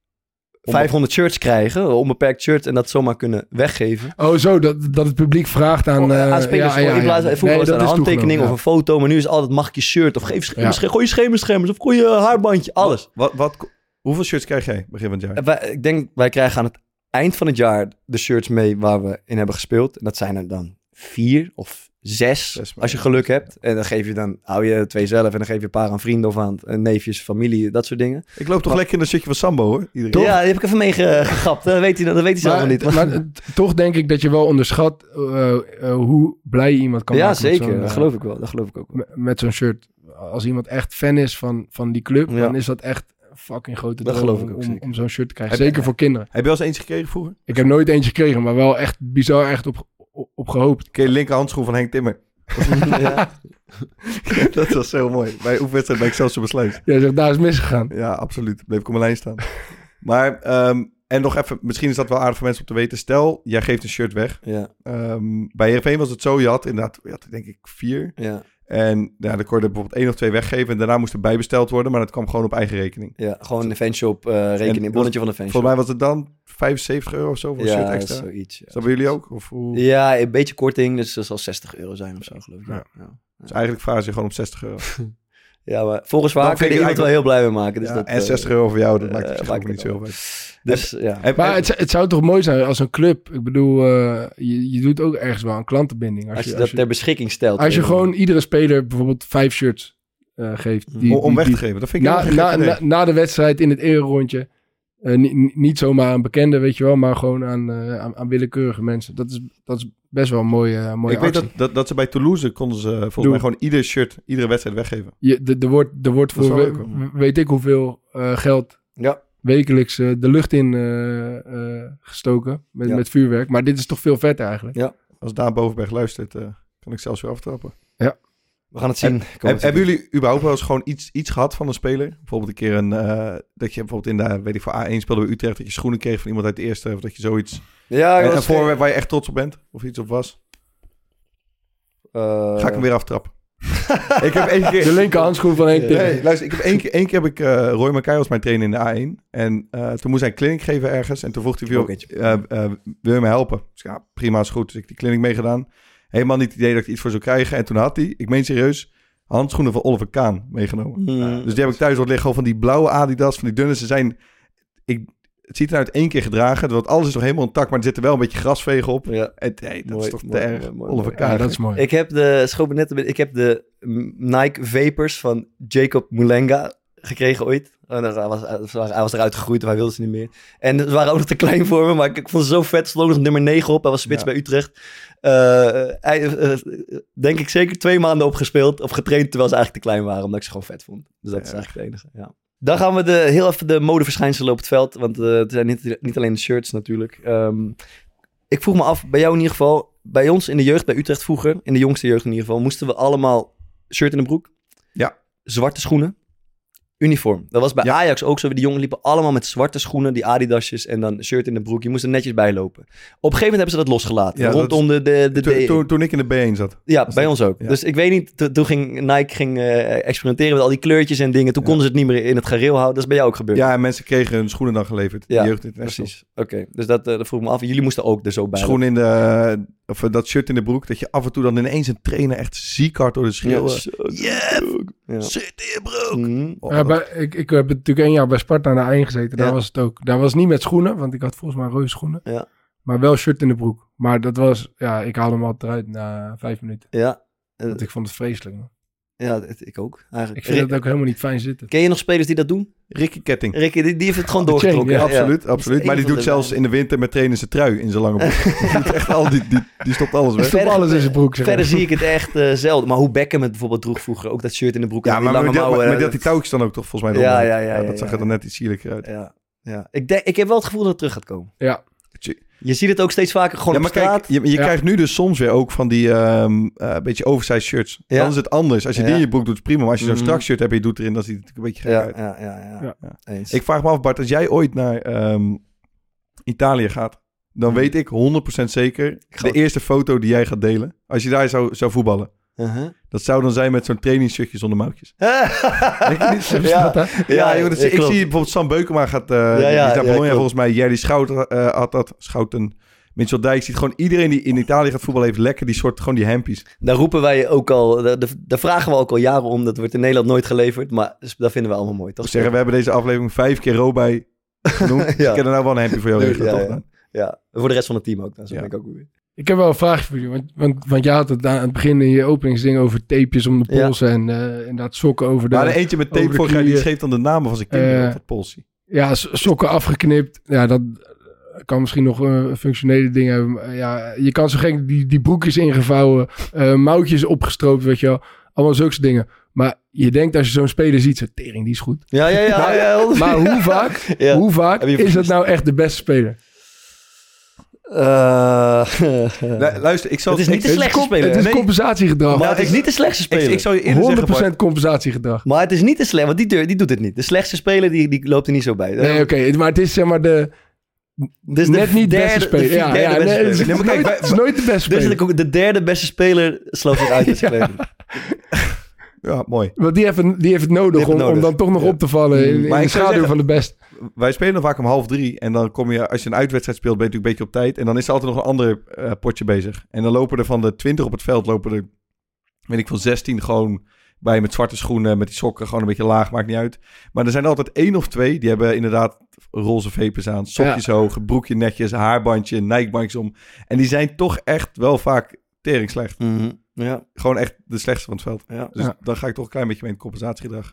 500 shirts krijgen, onbeperkt shirt, en dat zomaar kunnen weggeven.
Oh, zo, dat, dat het publiek vraagt aan... eh,
Oh, aan spelers
ja, ja, ja.
in plaats van vroeger
Nee,
was
dat
het een
is
handtekening
toegenomen,
of een foto, maar nu is het altijd mag ik je shirt of geef
Ja.
schermers, gooi je schemerschermers of gooi je haarbandje, alles.
Wat, wat, hoeveel shirts krijg jij begin van het jaar?
Eh, Wij, ik denk, wij krijgen aan het eind van het jaar de shirts mee waar we in hebben gespeeld. En dat zijn er dan vier of zes,
Zes maar,
als je geluk hebt. En dan geef je dan, hou je twee zelf en dan geef je een paar aan vrienden of aan eh, neefjes, familie, dat soort dingen.
Ik loop toch lekker in dat shirtje van Sambo, hoor. Iedereen.
Ja, die heb ik even meegegapt. Dat weet hij, dat weet hij zelf nog
Maar,
niet.
maar het- toch denk ik dat je wel onderschat eh, eh, hoe blij je iemand kan
ja,
maken. met
zeker.
zo'n,
Dat
eh,
geloof ik wel. Dat geloof ik ook wel.
me- met zo'n shirt. Als iemand echt fan is van, van die club,
Ja.
dan is dat echt een fucking grote
Dat
droom
geloof ik ook
om,
zeker.
om zo'n shirt te krijgen.
Heb je-
Zeker voor kinderen.
Heb je wel eens eentje gekregen vroeger?
Ik heb nooit eentje gekregen, maar wel echt bizar echt op, op, op gehoopt.
Oké, linker handschoen van Henk Timmer.
ja.
dat was zo mooi. Bij oefenwedstrijd bij Excelsior besluit.
Jij zegt, daar is misgegaan.
Ja, absoluut. Bleef ik op mijn lijn staan. Maar, ehm, en nog even, misschien is dat wel aardig voor mensen om te weten. Stel, jij geeft een shirt weg.
Ja,
Ehm, bij Heerenveen was het zo, je had inderdaad, je had denk ik vier.
ja,
En ja, dan kon je er bijvoorbeeld één of twee weggeven. En daarna moest er bijbesteld worden, maar dat kwam gewoon op eigen rekening.
ja. Gewoon de fanshop eh
En
rekening,
dat-
bonnetje van de fanshop.
Volgens mij was het dan 75 euro of zo voor een shirt
ja,
extra.
zoiets. Ja.
Is dat bij jullie ook? Of hoe?
Ja, een beetje korting, dus dat zal 60 euro zijn of zo, geloof ik. Ja,
Ja.
ja.
Dus eigenlijk vragen ze je gewoon om 60 euro.
Dus Ja, maar volgens mij
Dan
kan
vind
je
ik
iemand wel heel blij mee maken. Dus
Ja,
dat,
en
eh,
60 euro voor jou, dat maakt
eh,
het
maakt
verschil ook
het
niet zo heel veel.
Dus ja.
Heb-
Maar
heb-
het, zou- het zou toch mooi zijn als een club... Ik bedoel, eh, je, je doet ook ergens wel een klantenbinding. Als,
Als je
als
dat
je,
ter beschikking stelt.
als je
eh,
gewoon iedere speler bijvoorbeeld vijf shirts eh, geeft. Die,
om, om
die-
Hmm.
weg te
die-
geven, dat vind ik
na,
helemaal geen
na,
gek idee.
na, na de wedstrijd in het ererondje Eh, ni- ni- niet zomaar aan bekenden, weet je wel, maar gewoon aan, eh, aan, aan willekeurige mensen. Dat is, dat is best wel een mooie, eh, mooie
ik weet
actie.
dat, dat, dat ze bij Toulouse konden ze eh, volgens
Doe.
mij gewoon ieder shirt, iedere wedstrijd weggeven.
Je, de, de wordt, de wordt
Dat is
voor
wel
we-
leuk,
we- weet ik hoeveel eh, geld
Ja.
wekelijks eh, de lucht in eh, eh, gestoken met,
Ja.
met vuurwerk. Maar dit is toch veel vetter eigenlijk.
Als Daan Bovenberg luistert, eh, kan ik zelfs weer aftrappen.
We gaan het zien.
Heb- hebben jullie überhaupt wel eens gewoon iets, iets gehad van een speler? Bijvoorbeeld een keer een, eh, dat je bijvoorbeeld in de, weet ik voor A1 speelde bij Utrecht, dat je schoenen kreeg van iemand uit de eerste, of dat je zoiets,
Ja, ik
een, een
was-
voorwerp waar je echt trots op bent, of iets op was.
Eh,
Ga ik hem weer aftrappen. ik heb één keer...
De linker handschoen van Henk Timmer.
Nee, luister, ik heb één keer, één keer heb ik eh, Roy Makai als mijn trainer in de A1. En eh, toen moest hij een clinic geven ergens. En toen vroeg hij, wil,
Oké.
eh, eh, wil je me helpen? Dus ik, ja, prima, is goed. Dus ik die clinic meegedaan. Helemaal niet het idee dat ik er iets voor zou krijgen. En toen had hij, ik meen serieus, handschoenen van Oliver Kaan meegenomen.
Hmm.
Dus die heb ik thuis wat liggen. Gewoon van die blauwe Adidas, van die dunne. Ze zijn... Ik, het ziet eruit één keer gedragen. Want alles is nog helemaal intact. Maar er zit er wel een beetje grasvegen op.
Ja.
En, hey, dat
Mooi,
is toch te
mooi,
erg.
mooi, mooi,
Oliver
mooi.
Kaan.
Ja, dat is mooi.
Ik heb de, schoot me net te binnen, ik heb de mm, Nike Vapors van Jacob Mulenga gekregen ooit. En dat- Hij was, hij was eruit gegroeid, maar hij wilde ze niet meer. En ze waren ook nog te klein voor me, maar ik, ik vond ze zo vet. Ze stond ook nog nummer 9 op, hij was spits
Ja.
bij Utrecht. Eh, hij, eh, denk ik zeker twee maanden opgespeeld of getraind, terwijl ze eigenlijk te klein waren, omdat ik ze gewoon vet vond. Dus dat is
Erg.
eigenlijk het enige, ja. Dan gaan we de, heel even de modeverschijnselen op het veld. Want eh, het zijn niet, niet alleen de shirts natuurlijk. Ehm, ik vroeg me af, bij jou in ieder geval, bij ons in de jeugd, bij Utrecht vroeger, in de jongste jeugd in ieder geval, moesten we allemaal shirt in de broek.
Ja.
Zwarte schoenen. Uniform. Dat was bij
Ja.
Ajax ook zo. Die jongen liepen allemaal met zwarte schoenen, die adidasjes en dan shirt in de broek. Je moest er netjes bij lopen. Op een gegeven moment hebben ze dat losgelaten.
Ja, dat
rondom de, de, E. de,
Toen,
de-
toen, toen ik in de B1 zat.
ja,
Was
bij
dat-
ons ook.
ja.
Dus ik weet niet, to- toen ging Nike ging, eh, experimenteren met al die kleurtjes en dingen. Toen
Ja.
konden ze het niet meer in het gareel houden. Dat is bij jou ook gebeurd.
Ja, en mensen kregen hun schoenen dan geleverd.
Ja,
Ja, jeugd international.
precies. Oké, dus dat, eh, dat vroeg me af. Jullie moesten ook er zo bij.
Schoen in de, of eh, dat shirt in de broek, dat je af en toe dan ineens een trainer echt ziek hard door de
lopen.
schreeuwen.
Ja, zo- Ja.
Shirt in je broek!
Mhm.
Oh,
Ja,
dat-
bij- ik, ik heb natuurlijk één jaar bij Sparta aan de eind gezeten. Daar
Ja.
was het ook. Daar was het niet met schoenen, want ik had volgens mij reuzeschoenen.
Ja.
Maar wel shirt in de broek. Maar dat was, ja, ik haalde hem altijd eruit na vijf minuten.
Ja,
Want ik vond het vreselijk. man.
ja het- ik ook. Eigenlijk.
Ik vind
Ri-
het ook helemaal niet fijn zitten.
Ken je nog spelers die dat doen?
Ricky Ketting.
Ricky, die, die heeft het
Oh,
gewoon
Chang,
doorgetrokken.
ja,
Ja,
absoluut, absoluut. Maar die doet zelfs in de winter met trainers zijn trui in zijn lange broek. die, doet echt al, die, die, die stopt alles weg.
Stop alles in zijn broek. zeg.
Verder zie ik het echt eh, zelden. Maar hoe Beckham het bijvoorbeeld droeg vroeger. Ook dat shirt in de broek. en
Ja,
die
maar
lange
met, dat-
mouwen,
met dat
eh,
die touwtjes dan ook toch volgens mij.
Ja,
eronder.
ja, ja, ja,
dat zag
ja.
er dan net iets zieliger uit.
Ja, ja. Ik, denk, ik heb wel het gevoel dat het terug gaat komen.
Ja.
Je ziet het ook steeds vaker gewoon
Ja,
op
maar
straat.
kijk, je, je
Ja.
krijgt nu dus soms weer ook van die ehm, eh, beetje oversized shirts.
Ja.
Dan is het anders. Als je die
Ja.
in je broek doet, is prima. Maar als je zo'n
Mhm.
strak shirt hebt en je doet erin, dan ziet het natuurlijk een beetje gek
ja,
uit.
ja, ja, ja,
Ja.
Eens.
Ik vraag me af, Bart, als jij ooit naar ehm, Italië gaat, dan weet ik 100% zeker
Mhm. ga
de
ook-
eerste foto die jij gaat delen, als je daar zou, zou voetballen.
Uh-huh.
Dat zou dan zijn met zo'n trainingsshirtje zonder mouwtjes.
ja,
dat,
Ja,
ja,
joh, dat is-
ja,
ik
klopt.
zie bijvoorbeeld Sam Beukema gaat, eh
ja,
die is
ja,
naar Bologna
klopt.
volgens mij. Jerry Schouten eh, had dat, Schouten, Mitchell Dijk. Ziet gewoon iedereen die in Italië gaat voetballen heeft lekker die soort, gewoon die hempies.
Daar roepen wij ook al, daar, daar- daar vragen we ook al jaren om. Dat wordt in Nederland nooit geleverd, maar dat vinden we allemaal mooi, toch?
Toch zeggen, we hebben deze aflevering vijf keer Robij genoemd. Ik kan er nou wel een hempje voor jou
Ja,
regelen,
ja,
toch?
ja.
Dan?
Ja, voor de rest van het team ook. Dan, zo
Ja.
denk ik ook weer.
Ik heb wel een vraagje voor jullie. Want, want, want je had het aan het begin in je openingsding over tapejes om de
Ja.
polsen en eh, inderdaad sokken over de...
Maar de eentje met
over
tape
de
voor jou, die
knieën.
schreef dan de namen van zijn kinderen
Eh,
op dat polsie.
Ja, so- sokken afgeknipt. Ja, dat eh, kan misschien nog een functionele dingen hebben. maar Ja, je kan zo gek die, die broekjes ingevouwen, eh, mouwtjes opgestroopt, weet je wel. Allemaal zulke soort dingen. Maar je denkt als je zo'n speler ziet, zo tering, die is goed.
Ja, ja, ja.
Maar-
ja, ja.
Maar hoe vaak,
Ja.
hoe vaak
Heb je
is dat
vergist?
nou echt de beste speler?
Eh,
Lu- Luister, ik zal...
het is
ik-
niet de slechtste speler.
Het is
Nee,
compensatiegedrag.
maar het is niet de slechtste
Ik,
speler.
ik zou je eerder zeggen, Bart,
100% compensatiegedrag.
Maar het is niet de slechtste, want die, deur- die doet het niet. De slechtste speler, die, die loopt er niet zo bij.
Nee, oké, het- maar het is zeg maar de,
dus
net niet de beste
de
speler.
vier-
ja,
derde
ja,
beste
nee,
speler.
het is,
Nee, maar kijk,
nooit,
wij-
het is nooit de beste
Dus
speler.
de, de derde beste speler sloot zich uit.
Ja.
ja.
Ja, mooi.
Want die heeft, het- die heeft het nodig,
Die heeft het
om, om
nodig.
dan toch nog
Ja. Mm.
op te vallen in, in
Maar
de
ik zou
schaduw
zeggen-
van de best.
Wij spelen dan vaak om half drie. En dan kom je, als je een uitwedstrijd speelt, ben je natuurlijk een beetje op tijd. En dan is er altijd nog een ander eh, potje bezig. En dan lopen er van de twintig op het veld, lopen er, weet ik veel, zestien gewoon bij met zwarte schoenen, met die sokken, gewoon een beetje laag, maakt niet uit. Maar er zijn altijd één of twee, die hebben inderdaad roze vepers aan, sokjes hoog, broekje netjes, haarbandje, nijkbankjes om. En die zijn toch echt wel vaak tering slecht.
Mhm. ja,
Gewoon echt de slechtste van het veld.
ja.
Dus
Ja.
dan ga ik toch een klein beetje mee in het compensatiegedrag.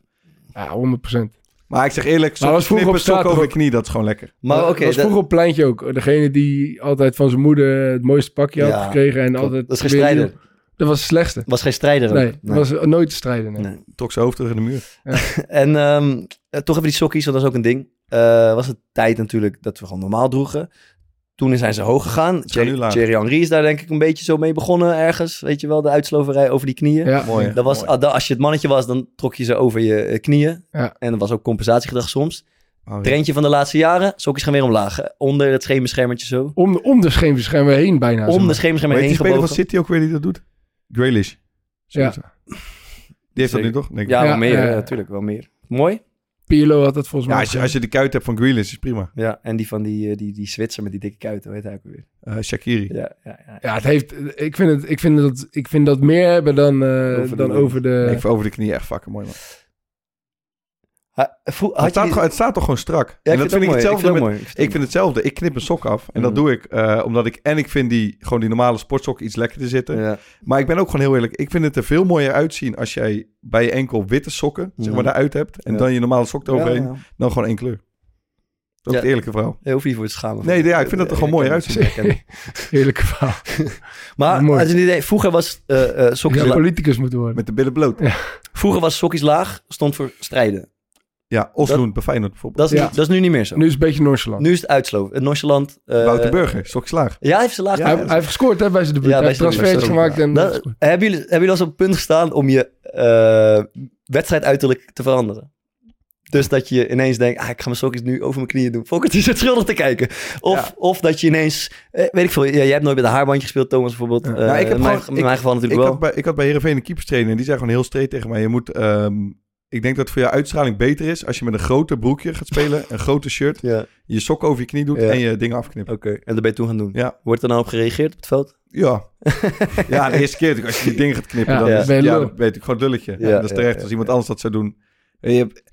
Ja, 100%.
Maar ik zeg eerlijk,
Maar was
soms
vroeger
knippen
op straat
stok over
toch
de knie, dat is gewoon lekker.
Maar oké,
dat was
dat-
vroeger op pleintje ook. Degene die altijd van zijn moeder het mooiste pakje had
Ja,
gekregen en
klopt.
altijd...
Dat is geen
weer-
strijder.
Dat was het slechtste.
was geen strijder. ook.
Nee, dat was nooit te strijden. Nee.
Nee.
Trok zijn hoofd tegen de muur.
En ehm, eh, toch even die sokkies, want dat is ook een ding. Eh, was het tijd natuurlijk dat we gewoon normaal droegen. Toen zijn ze hoog gegaan.
gaan nu
Thierry
laag.
Thierry Henry is daar denk ik een beetje zo mee begonnen ergens. Weet je wel, de uitsloverij over die knieën.
Ja.
Mooi. hè?
Dat was,
Mooi.
ah, da- als je het mannetje was, dan trok je ze over je eh, knieën.
Ja.
En dat was ook compensatiegedrag soms.
Harry.
Trendje van de laatste jaren, sokjes gaan weer omlaag. eh, Onder het schemerschermertje zo.
Om, om de schemerschermen heen bijna. zeg
Om de
maar.
Maar
schemerschermer
weet
heen
die speler van
gebogen.
City ook weer die dat doet? Grealish.
Ja.
Zoiets. Die heeft dat nu toch? Denk ik.
Ja, wel
Ja,
meer,
ja, ja.
natuurlijk, wel meer. Mooi.
Pirlo had dat volgens
Ja,
mij.
als, je, als je de kuit hebt van Grealish, is prima.
Ja, en die van die, eh, die, die Zwitser met die dikke kuiten, hoe heet hij ook weer?
Eh, Shakiri.
Ja, ja, ja.
Ja, het heeft, ik, vind het, ik, vind dat, ik vind dat meer hebben dan, eh,
de
dan
lijn.
over de...
Ik vind over de knie echt fucking mooi, man.
Ha- vroeg- had
Het
je
staat,
die-
gewoon- het staat toch gewoon strak?
Ja,
en dat vind ik
het ook
hetzelfde met...
mooi. vind het ook
Ik vind hetzelfde. Ik knip een sok af. En dat
Mm.
doe ik eh, omdat ik... En ik vind die, gewoon die normale sportsok iets lekkerder zitten.
mooi. Ja.
Maar ik ben ook gewoon heel eerlijk. Ik vind het er veel mooier uitzien als jij bij je enkel witte sokken, zeg maar,
Mhm.
daaruit hebt. En
Ja.
dan je normale sok eroverheen.
Ja, ja.
Dan gewoon één kleur. Dat is
Ja.
het eerlijke verhaal.
Je hoeft je niet voor te schamen. eh,
Nee, ja, ik vind dat er gewoon
mooi
mooier uitziet.
Eerlijke verhaal.
Maar
Mooi.
als je een idee, vroeger was eh, eh,
Ik
sokjes
zou
la-
politicus moeten worden.
Met de billen bloot. Ja,
vroeger was sokjes laag, stond voor strijden.
Osloen bij Feyenoord bijvoorbeeld.
Dat is,
Ja.
nu, dat is nu niet meer zo.
Nu
Nu,
is het een beetje nonchalant.
is het uitsloof. Het nonchalant. eh,
Wouter Burger, sokslaag.
Ja, hij heeft ze laag.
hij, hij heeft gescoord hè, bij zijn debuut.
Ja,
hij
bij
heeft
zijn debuut. Nou,
transfers gemaakt. En,
Dat- hebben, jullie, hebben jullie al zo'n punt gestaan om je eh, wedstrijd uiterlijk te veranderen? Dus dat je ineens denkt, ah, ik ga mijn sokjes nu over mijn knieën doen. Fok het is het schuldig te kijken. Of,
Ja.
of dat je ineens, eh, weet ik veel, ja, jij hebt nooit met een haarbandje gespeeld, Thomas bijvoorbeeld. Eh,
Nou, ik heb
in mijn,
gewoon-
in mijn geval
Ik
natuurlijk
had,
wel.
bij, ik had bij Heerenveen een keeperstrainer en die zei gewoon heel streed tegen mij. Je moet, ehm, ik denk dat het voor je uitstraling beter is als je met een groter broekje gaat spelen, een groter shirt,
Ja, oké.
je sok over je knie doet
Ja.
en je dingen afknipt.
En dat ben je toen gaan doen.
Ja.
Wordt er nou op gereageerd op het veld?
Ja. ja, de eerste keer natuurlijk, als je die ding gaat knippen,
Ja,
dan,
ja.
is,
ben je
ja,
lul.
dan weet ik gewoon dulletje.
Ja,
Ja, dat is
ja,
terecht
ja,
als iemand anders dat zou doen. En je hebt,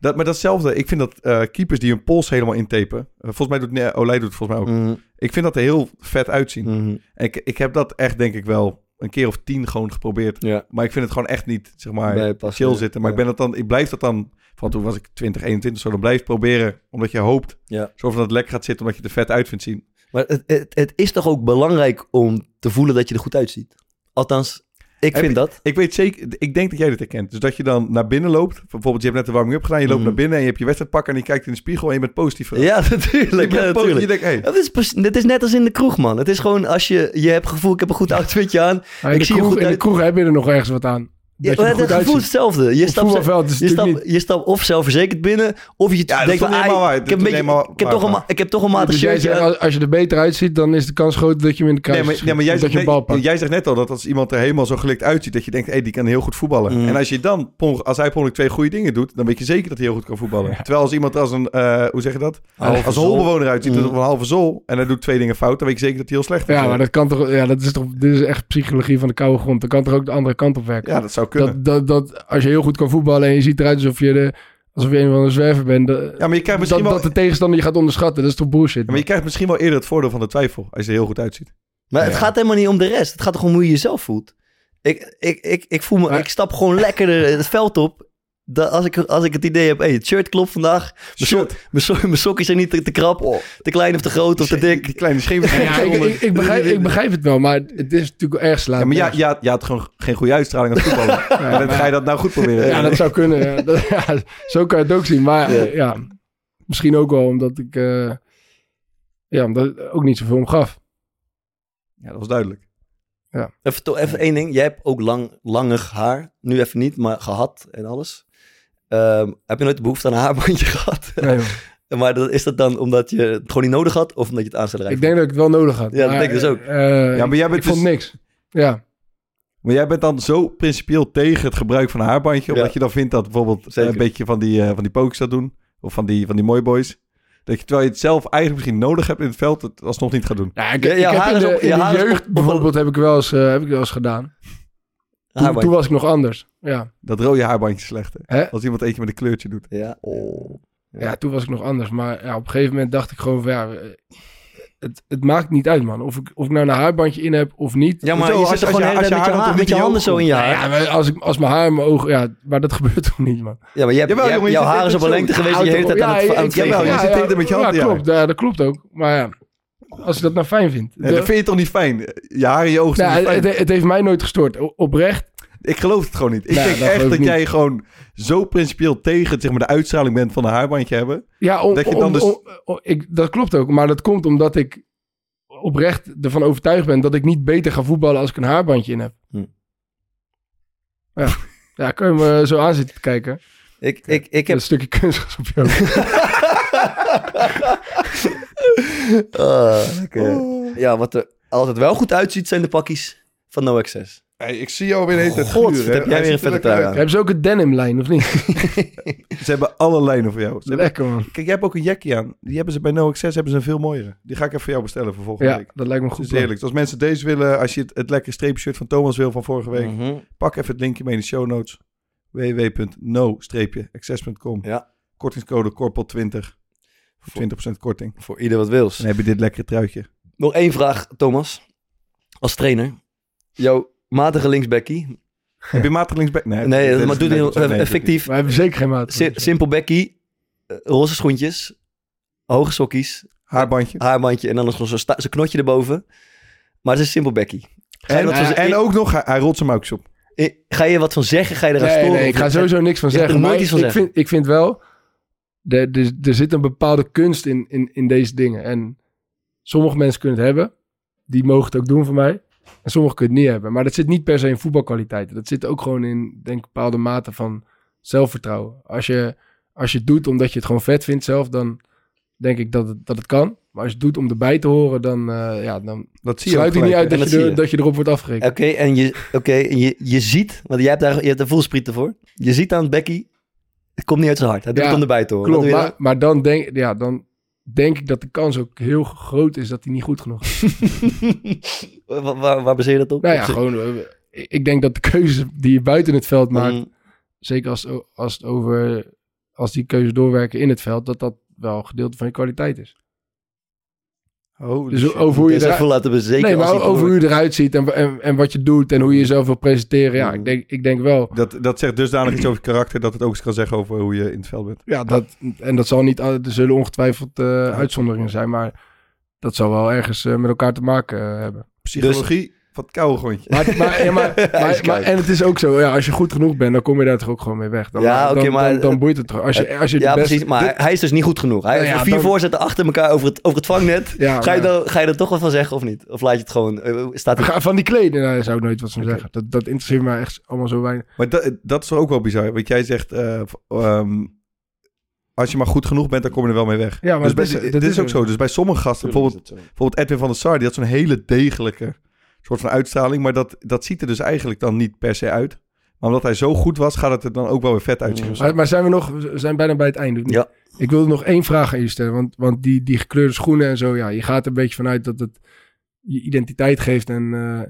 dat, maar datzelfde, ik vind dat eh, keepers die hun pols helemaal intapen, eh, volgens mij doet nee, Olij doet het volgens mij ook.
Mhm.
Ik vind dat er heel vet uitzien.
Mhm.
En ik, ik heb dat echt denk ik wel een keer of tien gewoon geprobeerd.
Ja.
Maar ik vind het gewoon echt niet, zeg maar,
Nee, past
chill
niet.
zitten. Maar
Ja.
ik, ben dat dan, ik blijf dat dan, van toen was ik 20, 21, zo, dan blijf proberen. Omdat je hoopt,
Ja.
zo van dat het lekker gaat zitten, omdat je het er vet uit vindt zien.
Maar het, het, het is toch ook belangrijk om te voelen dat je er goed uitziet? Althans, ik
Heb
vind
je-
dat.
Ik weet zeker, ik denk dat jij dit herkent. Dus dat je dan naar binnen loopt. Bijvoorbeeld, je hebt net de warming-up gedaan, je loopt
Mm.
naar binnen en je hebt je wedstrijd pakken en je kijkt in de spiegel en je bent positief. verrast.
Ja, natuurlijk.
je
ja,
bent positief, je
natuurlijk.
denkt, hey,
Dat is, precies- dit is net als in de kroeg, man. Het is gewoon als je, je hebt gevoel, ik heb een goed outfitje aan.
maar in,
ik
de
zie je
kroeg,
goed
in de
uit.
kroeg heb je er nog ergens wat aan. Dat je
Ja,
er
het
goed
het gevoel is
uitziet.
hetzelfde. Je
Op
stapt,
voetbalveld is
je,
het natuurlijk
stapt, je stapt of zelfverzekerd binnen, of je
dat is
denkt
toch
van,
niet
ah,
helemaal waar.
ik
Dat
heb,
is
een beetje,
niet helemaal
ik, heb toch een,
waar.
ma- ik heb toch een matig
Dus jij
shirtje
zegt,
aan.
als- als je er beter uitziet, dan is de kans groot dat je hem in de
Nee,
kruis
maar, nee, maar jij,
dat
zegt,
je een bal
net,
pakt.
jij zegt net al dat als iemand er helemaal zo gelikt uitziet, dat je denkt, hey, die kan heel goed voetballen.
Mm.
En als, je dan, per ongeluk- als hij per ongeluk twee goede dingen doet, dan weet je zeker dat hij heel goed kan voetballen. Terwijl als iemand als een, eh, hoe zeg je dat?
Halve
als een
zol.
holbewoner uitziet,
Mm.
of een halve zol, en hij doet twee dingen fout, dan weet je zeker dat hij heel slecht is.
Ja, maar dat kan toch... Ja, dat is toch... Dit is echt psychologie van de koude grond. Dat kan toch ook de andere kant op werken?
Ja, dat zou kunnen.
dat, dat, dat als je heel goed kan voetballen en je ziet eruit alsof je, de, alsof je een van de zwerver bent. dat-
ja, maar je krijgt
dat,
misschien wel...
dat de tegenstander je gaat onderschatten. Dat is toch bullshit?
Ja, maar je krijgt misschien wel eerder het voordeel van de twijfel als je er heel goed uitziet.
Maar het
Ja.
gaat helemaal niet om de rest. Het gaat toch om hoe je jezelf voelt. Ik, ik, ik, ik, voel me,
Maar-
ik stap gewoon lekkerder het veld op. Dat als, ik, als ik het idee heb, hey, het shirt klopt vandaag. Mijn, sok- mijn, sok- mijn sokjes zijn niet te, te krap,
Oh.
te klein of te groot of te dik.
Die kleine scheef.
Ja, ik, ik, ik begrijp, ik begrijp het wel, maar het is natuurlijk erg slaat.
Ja, maar ja, ja, ja, had gewoon geen goede uitstraling als voetballer. En dan ga je dat nou goed proberen.
Ja, dat zou kunnen. ja. Dat- ja, zo kan je het ook zien. Maar ja, misschien ook wel omdat ik eh, ja, omdat ik ook niet zoveel om gaf.
Ja, dat was duidelijk.
Even, to- even één ding. Jij hebt ook lang, langig haar. Nu even niet, maar gehad en alles. Ehm, heb je nooit de behoefte aan een haarbandje gehad?
Nee, joh.
maar dat, is dat dan omdat je het gewoon niet nodig had of omdat je het aan zou
ik
drijven?
denk dat ik het wel nodig had.
Ja, dat denk ik dus ook.
eh,
Ja, maar jij bent
ik vond
dus-
niks. Ja,
Maar jij bent dan zo principieel tegen het gebruik van een haarbandje, omdat
Ja.
je dan vindt dat bijvoorbeeld eh,
Zeker.
een beetje van die, eh, van die pokers dat doen, of van die, van die mooi boys, dat je terwijl je het zelf eigenlijk misschien nodig hebt in het veld, het alsnog niet gaat doen.
nou, ik,
Ja,
ik
je
heb
haar
in
is
de,
op- je
in de
haar is op-
jeugd
op-
bijvoorbeeld heb ik, wel eens, eh, heb ik wel eens gedaan. Toen, toen
Haarbandje.
was ik nog anders. Ja.
Dat rode haarbandje is slecht, hè?
Hè?
Als iemand eentje met een kleurtje doet.
Ja. Oh.
ja, toen was ik nog anders. Maar ja, op een gegeven moment dacht ik gewoon van ja, eh, het, het maakt niet uit, man. Of ik, of ik nou een haarbandje in heb of niet. Nou
Ja, maar
Hoezo?
je
Als
zit
je-
er
als
gewoon
je-
de hele
als je
tijd met je,
haar
ha-
doet,
met je
doe je
handen
ook
zo in je haar.
Ja, maar als, ik, als mijn haar in mijn ogen... Ja, maar dat gebeurt toch niet, man.
Ja, maar je hebt,
Jawel,
jij-
jongen, je
jouw
zit
haar is
net
op een
zo.
lengte geweest die je
Auto-
hele tijd aan het,
ik-
aan het
ik-
jawel,
vegen
je
is.
zit de hele tijd met je hand in
Ja,
je
klopt. Ja, dat klopt ook. Maar ja, als je dat nou fijn vindt.
Ja, dat vind je toch niet fijn? Je haar in je ogen is toch
Nou,
niet fijn?
het, het heeft mij nooit gestoord. O- Oprecht.
Ik geloof het gewoon niet. Ik
Nou,
Nee,
denk
dat
echt
geloof
dat
ik
jij gewoon zo principieel tegen zeg maar, de uitstraling bent van een haarbandje hebben.
Ja, om,
Dat je
om-
dan dus-
om- om- ik, dat klopt ook. Maar dat komt omdat ik oprecht ervan overtuigd ben dat ik niet beter ga voetballen als ik een haarbandje in heb.
Hm.
Ja. ja, kun je me zo aan zitten kijken.
Ik, ik, ik heb
Een stukje kunstgras op je hoofd.
Ah, lekker. Ja, wat er altijd wel goed uitziet zijn de pakjes van No Access.
Hey, ik zie jou weer de hele tijd
God,
gluren, hè.
wat heb jij
Hij
weer
ziet er
een vette
lekker
trui
uit.
Hebben ze ook een denim lijn, of niet?
Ze hebben alle lijnen voor jou. Ze hebben-
Lekker, man.
Kijk, jij hebt ook een jackie aan. Die hebben ze bij No Access hebben ze een veel mooiere. Die ga ik even voor jou bestellen voor volgende
Ja,
week.
dat lijkt me een
Dat
goed.
is
plan.
heerlijk. Dus Als mensen deze willen, als je het, het lekkere streepshirt van Thomas wil van vorige week,
Mhm.
pak even het linkje mee in de show notes. www.no-access.com
Ja.
Kortingscode korpel20. 20% korting.
Voor ieder wat wils.
Dan heb je dit lekkere truitje.
Nog één vraag, Thomas. Als trainer. Jouw matige linksbackie.
Heb je matig linksback?
Nee,
dit is
maar doe eh,
nee,
dit
dat is- nee, doe
effectief.
dit
fictief.
We hebben zeker geen maat.
Si- simpel bekkie. eh, Roze schoentjes. Hoge sokkies.
niet. Haarbandje.
Haarbandje. En dan nog zo'n sta- zo'n knotje erboven. Maar het is een simpel bekkie. Ga je,
En,
dat van
en,
ze-
en ook nog, hij, hij rolt zijn muikjes op.
eh, ga je wat van zeggen? Ga je eraan
Nee,
storen?
nee,
Of-
ik ga sowieso niks van
Je hebt
zeggen.
er
Maar
nooit iets van
ik,
zeggen.
Vind, ik vind wel, er, er, er zit een bepaalde kunst in, in, in deze dingen. En sommige mensen kunnen het hebben. Die mogen het ook doen voor mij. En sommigen kunnen het niet hebben. Maar dat zit niet per se in voetbalkwaliteiten. Dat zit ook gewoon in, denk ik, bepaalde mate van zelfvertrouwen. Als je, als je het doet omdat je het gewoon vet vindt zelf, dan denk ik dat het, dat het kan. Maar als je het doet om erbij te horen, dan, eh, ja, dan
Dat zie je
sluit
ook
ik niet
gelijk,
uit dat,
hè.
En dat
je,
zie
er-
je.
dat je erop wordt afgerekend.
Oké, en, je, oké, en je, je ziet, want je hebt daar je hebt een voelsprieten voor. Je ziet aan Becky, het komt niet uit zijn hart. Hij doet
Ja,
het om erbij te horen. Wat
Klopt,
doe je
maar, maar dan, denk, ja, dan denk ik dat de kans ook heel groot is dat hij niet goed genoeg is.
dan? Wa- waar, waar baseer je dat op?
Nou ja,
Op zich-
gewoon, eh, ik ik denk dat de keuzes die je buiten het veld maakt,
Mm,
zeker als, als, het over, als die keuzes doorwerken in het veld, dat dat wel een gedeelte van je kwaliteit is.
Holy
Dus
shit.
over hoe je,
dus
eruit-
even laten bezekeren.
nee, maar
als hij
over hoe
verloor.
je eruit ziet en, wa- en, en wat je doet en hoe je jezelf wil presenteren. Ja,
Mm.
ik denk, ik denk wel.
Dat, dat zegt dusdanig iets over je karakter dat het ook iets kan zeggen over hoe je in het veld bent.
Ja, dat, en dat zal niet, al- er zullen ongetwijfeld eh, uitzonderingen zijn, maar dat zal wel ergens eh, met elkaar te maken eh, hebben.
Dus- Psychologie van het koude grondje.
Maar, maar, ja, maar, maar, maar- en het is ook zo, ja, als je goed genoeg bent, dan kom je daar toch ook gewoon mee weg. Dan,
Ja, oké,
dan,
maar-
dan, dan boeit het toch. Als je, als je
Ja,
de best,
precies. Maar hij- hij is dus niet goed genoeg. Hij
Nou
heeft
ja,
vier
dan- Nou
voorzetten achter elkaar over het, over het vangnet.
Ja,
ga, je
maar-
dan, ga je er toch wat van zeggen of niet? Of laat je het gewoon... eh, staat er...
Ga- Van die kleden, nou, daar zou ik nooit wat van zeggen. Dat, dat interesseert mij echt allemaal zo weinig.
Maar dat, dat is toch ook wel bizar. Want jij zegt, eh, v- ehm, als je maar goed genoeg bent, dan kom je er wel mee weg.
Ja, maar
dus
dat
bij-
is- dat
dit
is
is, ook
zo.
zo. Dus bij sommige gasten, bijvoorbeeld, bijvoorbeeld Edwin van der Sar, die had zo'n hele degelijke soort van uitstraling. Maar dat, dat ziet er dus eigenlijk dan niet per se uit. Maar omdat hij zo goed was, gaat het er dan ook wel weer vet uitzien. of zo.
Maar, maar zijn we nog, we zijn bijna bij het einde. of niet?
Ja.
Ik wilde nog één vraag aan je stellen, want, want die, die gekleurde schoenen en zo, ja, je gaat er een beetje vanuit dat het je identiteit geeft. En, eh,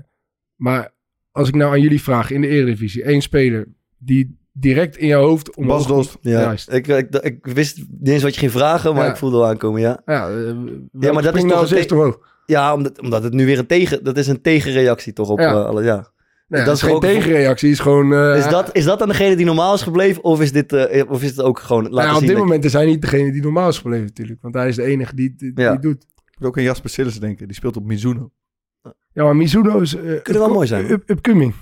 maar als ik nou aan jullie vraag, in de Eredivisie, één speler die direct in jouw hoofd... omhoog-
Bas Dost.
Ja,
Juist.
ik, ik, ik wist niet eens wat je ging vragen, maar
Ja.
ik voelde wel aankomen, ja.
Ja,
dat is
maar dat is
toch
nou
een
zicht
te-
omhoog.
Ja, omdat, omdat het nu weer een tegen... Dat is een tegenreactie toch op
Ja.
eh, alle... Ja.
Nee,
Dat
dat
is
is geen
gewoon-
tegenreactie, is gewoon... eh,
Is dat, is dat dan degene die normaal is gebleven? Of is, dit, eh, of is het ook gewoon laten
nou, ja, op
zien?
dit
dat-
moment is hij niet degene die normaal is gebleven natuurlijk. Want hij is de enige die die, die
Ja.
doet.
Ik moet ook aan Jasper Sillissen denken. Die speelt op Mizuno.
Ja, maar Mizuno is... eh,
Kunnen wel mooi zijn.
Up, upcoming.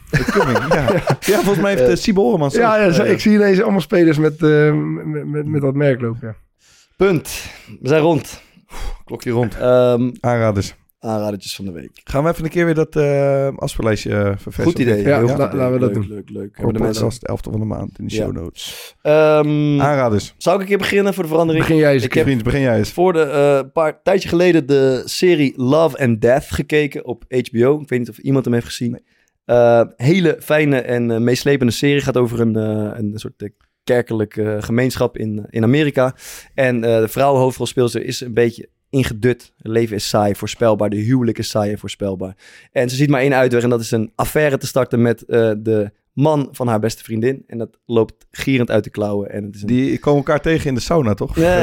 ja. ja, volgens mij
Eh,
heeft uh, Sibo Ormans
Ja,
ook,
ja, zo-
eh,
ik zie ineens allemaal spelers met, eh, met, met, met dat merk lopen. Ja.
Punt. We zijn rond.
klokje rond.
Ehm
Aanraders.
aanradertjes van de week.
Gaan we even een keer weer dat eh afspeellijstje eh, verversen?
Goed idee.
Ja,
heel
la-
goed idee.
laten we dat
leuk,
doen.
Leuk, leuk.
Hebben de mensen
Hebben
als de 11e van de maand in de
Ja.
show notes.
de mensen- Ehm,
Aanraders.
zou ik een keer beginnen voor de verandering?
Begin jij eens.
Ik
Ik
heb-
Vriend, begin jij eens.
Voor de eh, paar tijdje geleden de serie Love and Death gekeken op HBO. Ik weet niet of iemand hem heeft gezien. Eh, hele fijne en eh, meeslepende serie. Gaat over een, eh, een soort eh, kerkelijke eh, gemeenschap in, in Amerika. En eh, de vrouwenhoofdrolspeelster is een beetje ingedut. Het leven is saai, voorspelbaar. De huwelijk is saai en voorspelbaar. En ze ziet maar één uitweg en dat is een affaire te starten met eh, de man van haar beste vriendin. En dat loopt gierend uit de klauwen. En het is een
Die komen elkaar tegen in de sauna, toch?
ja.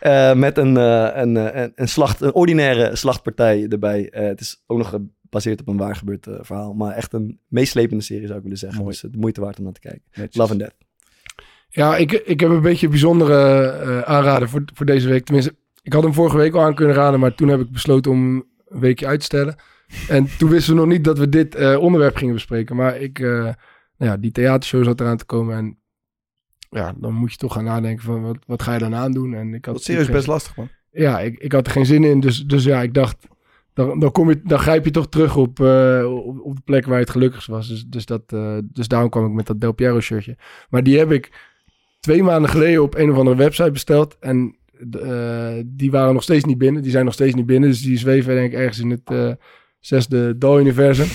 Eh, met een, eh, een, eh, een, een, slacht, een ordinaire slachtpartij erbij. Eh, het is ook nog gebaseerd op een waar gebeurd eh, verhaal. Maar echt een meeslepende serie zou ik willen zeggen.
Mooi.
Dus het de moeite waard om naar te kijken.
Netjes.
Love and Death.
Ja, ik, ik heb een beetje een bijzondere eh, aanrader voor, voor deze week. Tenminste, ik had hem vorige week al aan kunnen raden, maar toen heb ik besloten om hem een weekje uit te stellen. En toen wisten we nog niet dat we dit eh, onderwerp gingen bespreken. Maar ik, eh, nou ja, die theatershow zat eraan te komen en ja, dan moet je toch gaan nadenken van wat, wat ga je dan aandoen. En ik had
Dat is serieus
geen-
best lastig, man.
Ja, ik, ik had er geen zin in, dus, dus ja, ik dacht, dan, dan, kom je, dan grijp je toch terug op, eh, op, op de plek waar je het gelukkigst was. Dus, dus, dat, eh, dus daarom kwam ik met dat Del Piero shirtje. Maar die heb ik twee maanden geleden op een of andere website besteld. En eh, die waren nog steeds niet binnen. Die zijn nog steeds niet binnen. Dus die zweven denk ik ergens in het eh, zesde Dal-universum.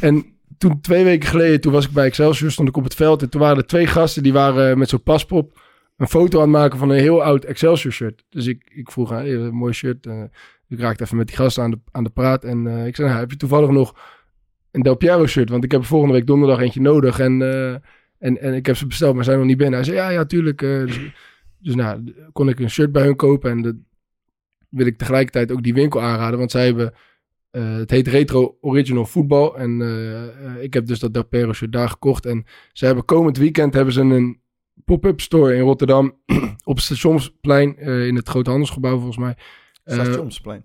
En toen twee weken geleden, toen was ik bij Excelsior, stond ik op het veld. En toen waren er twee gasten, die waren met zo'n paspop een foto aan het maken van een heel oud Excelsior shirt. Dus ik, ik vroeg aan, hey, wat een mooi shirt. eh. ik raakte even met die gasten aan de, aan de praat. En eh, ik zei, nou, heb je toevallig nog een Del Piero shirt? Want ik heb volgende week donderdag eentje nodig. En, eh, en, en ik heb ze besteld, maar zijn nog niet binnen. Hij zei, ja, ja, tuurlijk. eh." dus, dus nou, kon ik een shirt bij hun kopen. En dat wil ik tegelijkertijd ook die winkel aanraden. Want zij hebben, eh, het heet Retro Original Voetbal. En eh, eh, ik heb dus dat Del Piero shirt daar gekocht. En ze hebben komend weekend hebben ze een pop-up store in Rotterdam. op het stationsplein eh, in het Groothandelsgebouw volgens mij. Eh,
Stationsplein.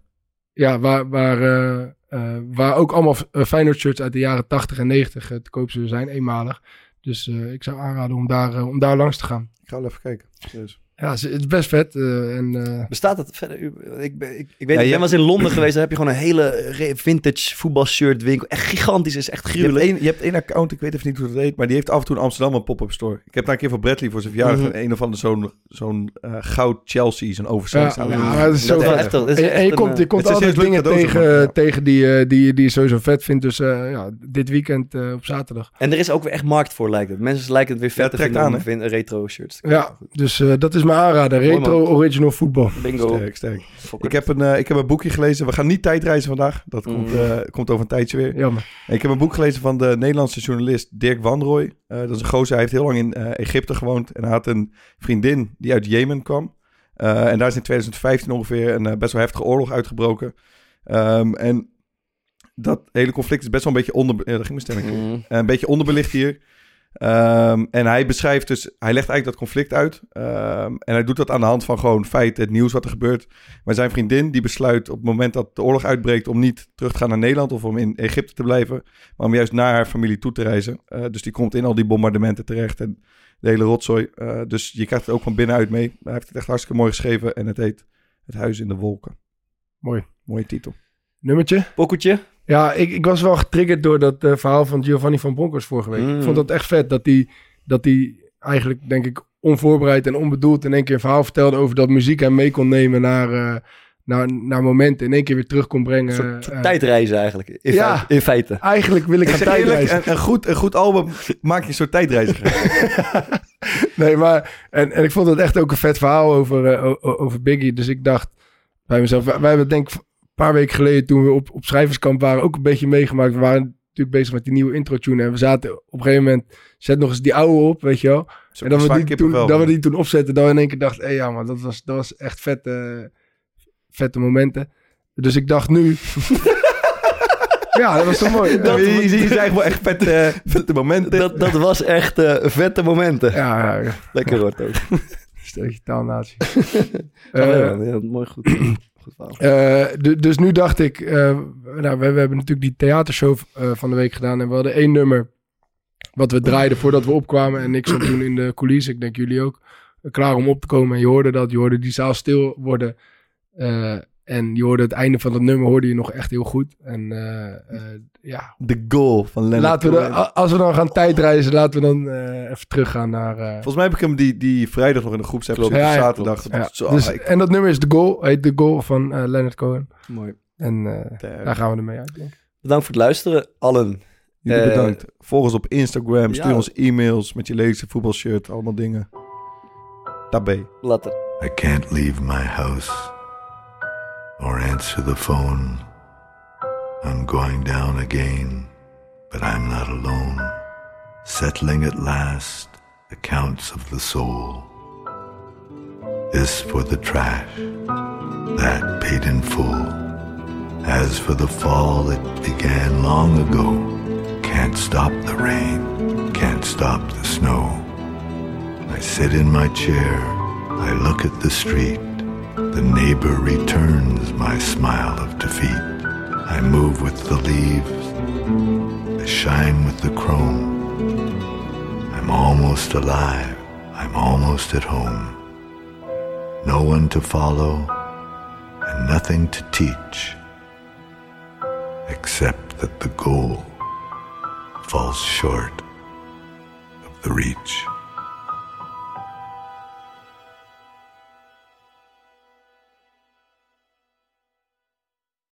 ja, waar, waar, eh, eh, waar ook allemaal eh, Feyenoord shirts uit de jaren 80 en 90 eh, te koop zullen zijn, eenmalig. Dus eh, ik zou aanraden om daar, eh, om daar langs te gaan.
Ik ga wel even kijken. Serieus.
Ja, ze- het is best vet. eh, en, eh,
Bestaat het verder? Ik, ben- ik,
Ja,
ik weet, ik
je-
ben wel eens in Londen geweest. Daar heb je gewoon een hele re- vintage voetbalshirt winkel. Echt gigantisch, is echt
Je hebt,
gruwelijk.
één, je hebt één account, ik weet even niet hoe dat heet, maar die heeft af en toe in Amsterdam een pop-up store. Ik heb daar een keer voor Bradley voor zijn verjaardag
Mhm.
een, een of ander zo'n zo'n eh, goud Chelsea, zo'n oversize.
Ja,
staan.
ja, maar het is zo
Dat is wel
vet.
echt, dat is
en, en
echt
je
een, eh,
komt, je komt
het is
altijd
een leuke
dingen
cadeau,
tegen,
zeg maar. Ja.
tegen die, eh, die, die je sowieso vet vindt. Dus eh, ja, dit weekend eh, op zaterdag.
En er is ook weer echt markt voor, lijkt het. Mensen lijken het weer vet
Ja,
te
trekt
vinden om
aan,
vin- retro shirts.
Ja, dus eh, dat is mijn aanrader.
Mooi, man.
Retro original voetbal.
Bingo.
Sterk, sterk.
Fuck
Ik
it.
heb, een, eh, ik heb een boekje gelezen. We gaan niet tijdreizen vandaag. Dat
Mm.
komt, eh, komt over een tijdje weer.
Jammer.
En Ik heb een boek gelezen van de Nederlandse journalist Dirk Wanrooy. Eh, dat is een gozer, hij heeft heel lang in eh, Egypte gewoond. En hij had een vriendin die uit Jemen kwam. Eh, en daar is in 2015 ongeveer een eh, best wel heftige oorlog uitgebroken. Ehm, en dat hele conflict is best wel een beetje onder... Ja, daar ging mijn stemming in. Eh,
Mm.
Een beetje onderbelicht hier. Ehm, en hij beschrijft dus, hij legt eigenlijk dat conflict uit. Ehm, en hij doet dat aan de hand van gewoon feiten, het nieuws wat er gebeurt. Maar zijn vriendin die besluit op het moment dat de oorlog uitbreekt om niet terug te gaan naar Nederland of om in Egypte te blijven, maar om juist naar haar familie toe te reizen. Eh, dus die komt in al die bombardementen terecht en de hele rotzooi. Eh, dus je krijgt het ook van binnenuit mee. Hij heeft het echt hartstikke mooi geschreven en het heet Het Huis in de Wolken.
Mooi.
Mooie titel.
Nummertje?
Pokkeltje.
Ja, ik, ik was wel getriggerd door dat eh, verhaal van Giovanni van Bronckhorst vorige week.
Mm.
Ik vond dat echt vet dat hij dat die eigenlijk, denk ik, onvoorbereid en onbedoeld in één keer een verhaal vertelde over dat muziek hem mee kon nemen naar, eh, naar, naar momenten. In één keer weer terug kon brengen.
Een soort
Eh,
tijdreizen eigenlijk. In,
Ja.
feite, in feite.
Eigenlijk wil ik
Ik
gaan
zeg eerlijk,
tijdreizen.
een, een goed, een goed album maakt je een soort tijdreiziger.
Nee, maar en, en ik vond het echt ook een vet verhaal over, eh, o- o- over Biggie. Dus ik dacht bij mezelf, wij, wij hebben het denk ik een paar weken geleden toen we op, op schrijverskamp waren ook een beetje meegemaakt. We waren natuurlijk bezig met die nieuwe intro tune en we zaten op een gegeven moment, zet nog eens die oude op, weet je wel. En dat we, die toen,
Kippenvel.
dat we die toen opzetten, dat we in één keer dachten, hé ja man, dat was, dat was echt vet, eh, vette momenten. Dus ik dacht nu... ja, dat was toch mooi.
Dat je, je, je zegt wel echt vette, eh, vette momenten.
Dat, dat was echt eh, vette momenten.
Ja, ja, ja.
Lekker hoor, ook.
stel je Eh, taalnatie.
ja, ja, mooi goed. goed verhaal.
Eh, du- dus nu dacht ik, eh, nou, we, we hebben natuurlijk die theatershow eh, van de week gedaan en we hadden één nummer wat we draaiden voordat we opkwamen en ik zat toen in de coulissen, ik denk jullie ook, eh, klaar om op te komen en je hoorde dat, je hoorde die zaal stil worden Eh, en je hoorde het einde van dat nummer, hoorde je nog echt heel goed en eh, eh, ja,
De goal van Leonard
laten we dan,
Cohen.
a- als we dan gaan tijdreizen, laten we dan eh, even teruggaan naar... eh,
Volgens mij heb ik hem die, die vrijdag nog in de groepsapp
Klopt.
gezeten,
Ja, ja,
zaterdag.
ja,
Zo,
dus-
Oh, ik-
en dat nummer is The Goal, heet The Goal van eh, Leonard Cohen
Mooi.
en eh, daar gaan we ermee uit, denk ik.
Bedankt voor het luisteren, allen.
Jullie
eh,
bedankt. Volg ons op Instagram. Stuur
ja.
ons e-mails met je lelijkste voetbalshirt. Allemaal dingen. Tabé.
Later.
I can't leave my house or answer the phone. I'm going down again, but I'm not alone. settling at last accounts of the soul, is for the trash that paid in full. As for the fall that began long ago, can't stop the rain, can't stop the snow. I sit in my chair, I look at the street. The neighbor returns my smile of defeat. I move with the leaves, I shine with the chrome. I'm almost alive. I'm almost at home. No one to follow and nothing to teach except that the goal falls short of the reach.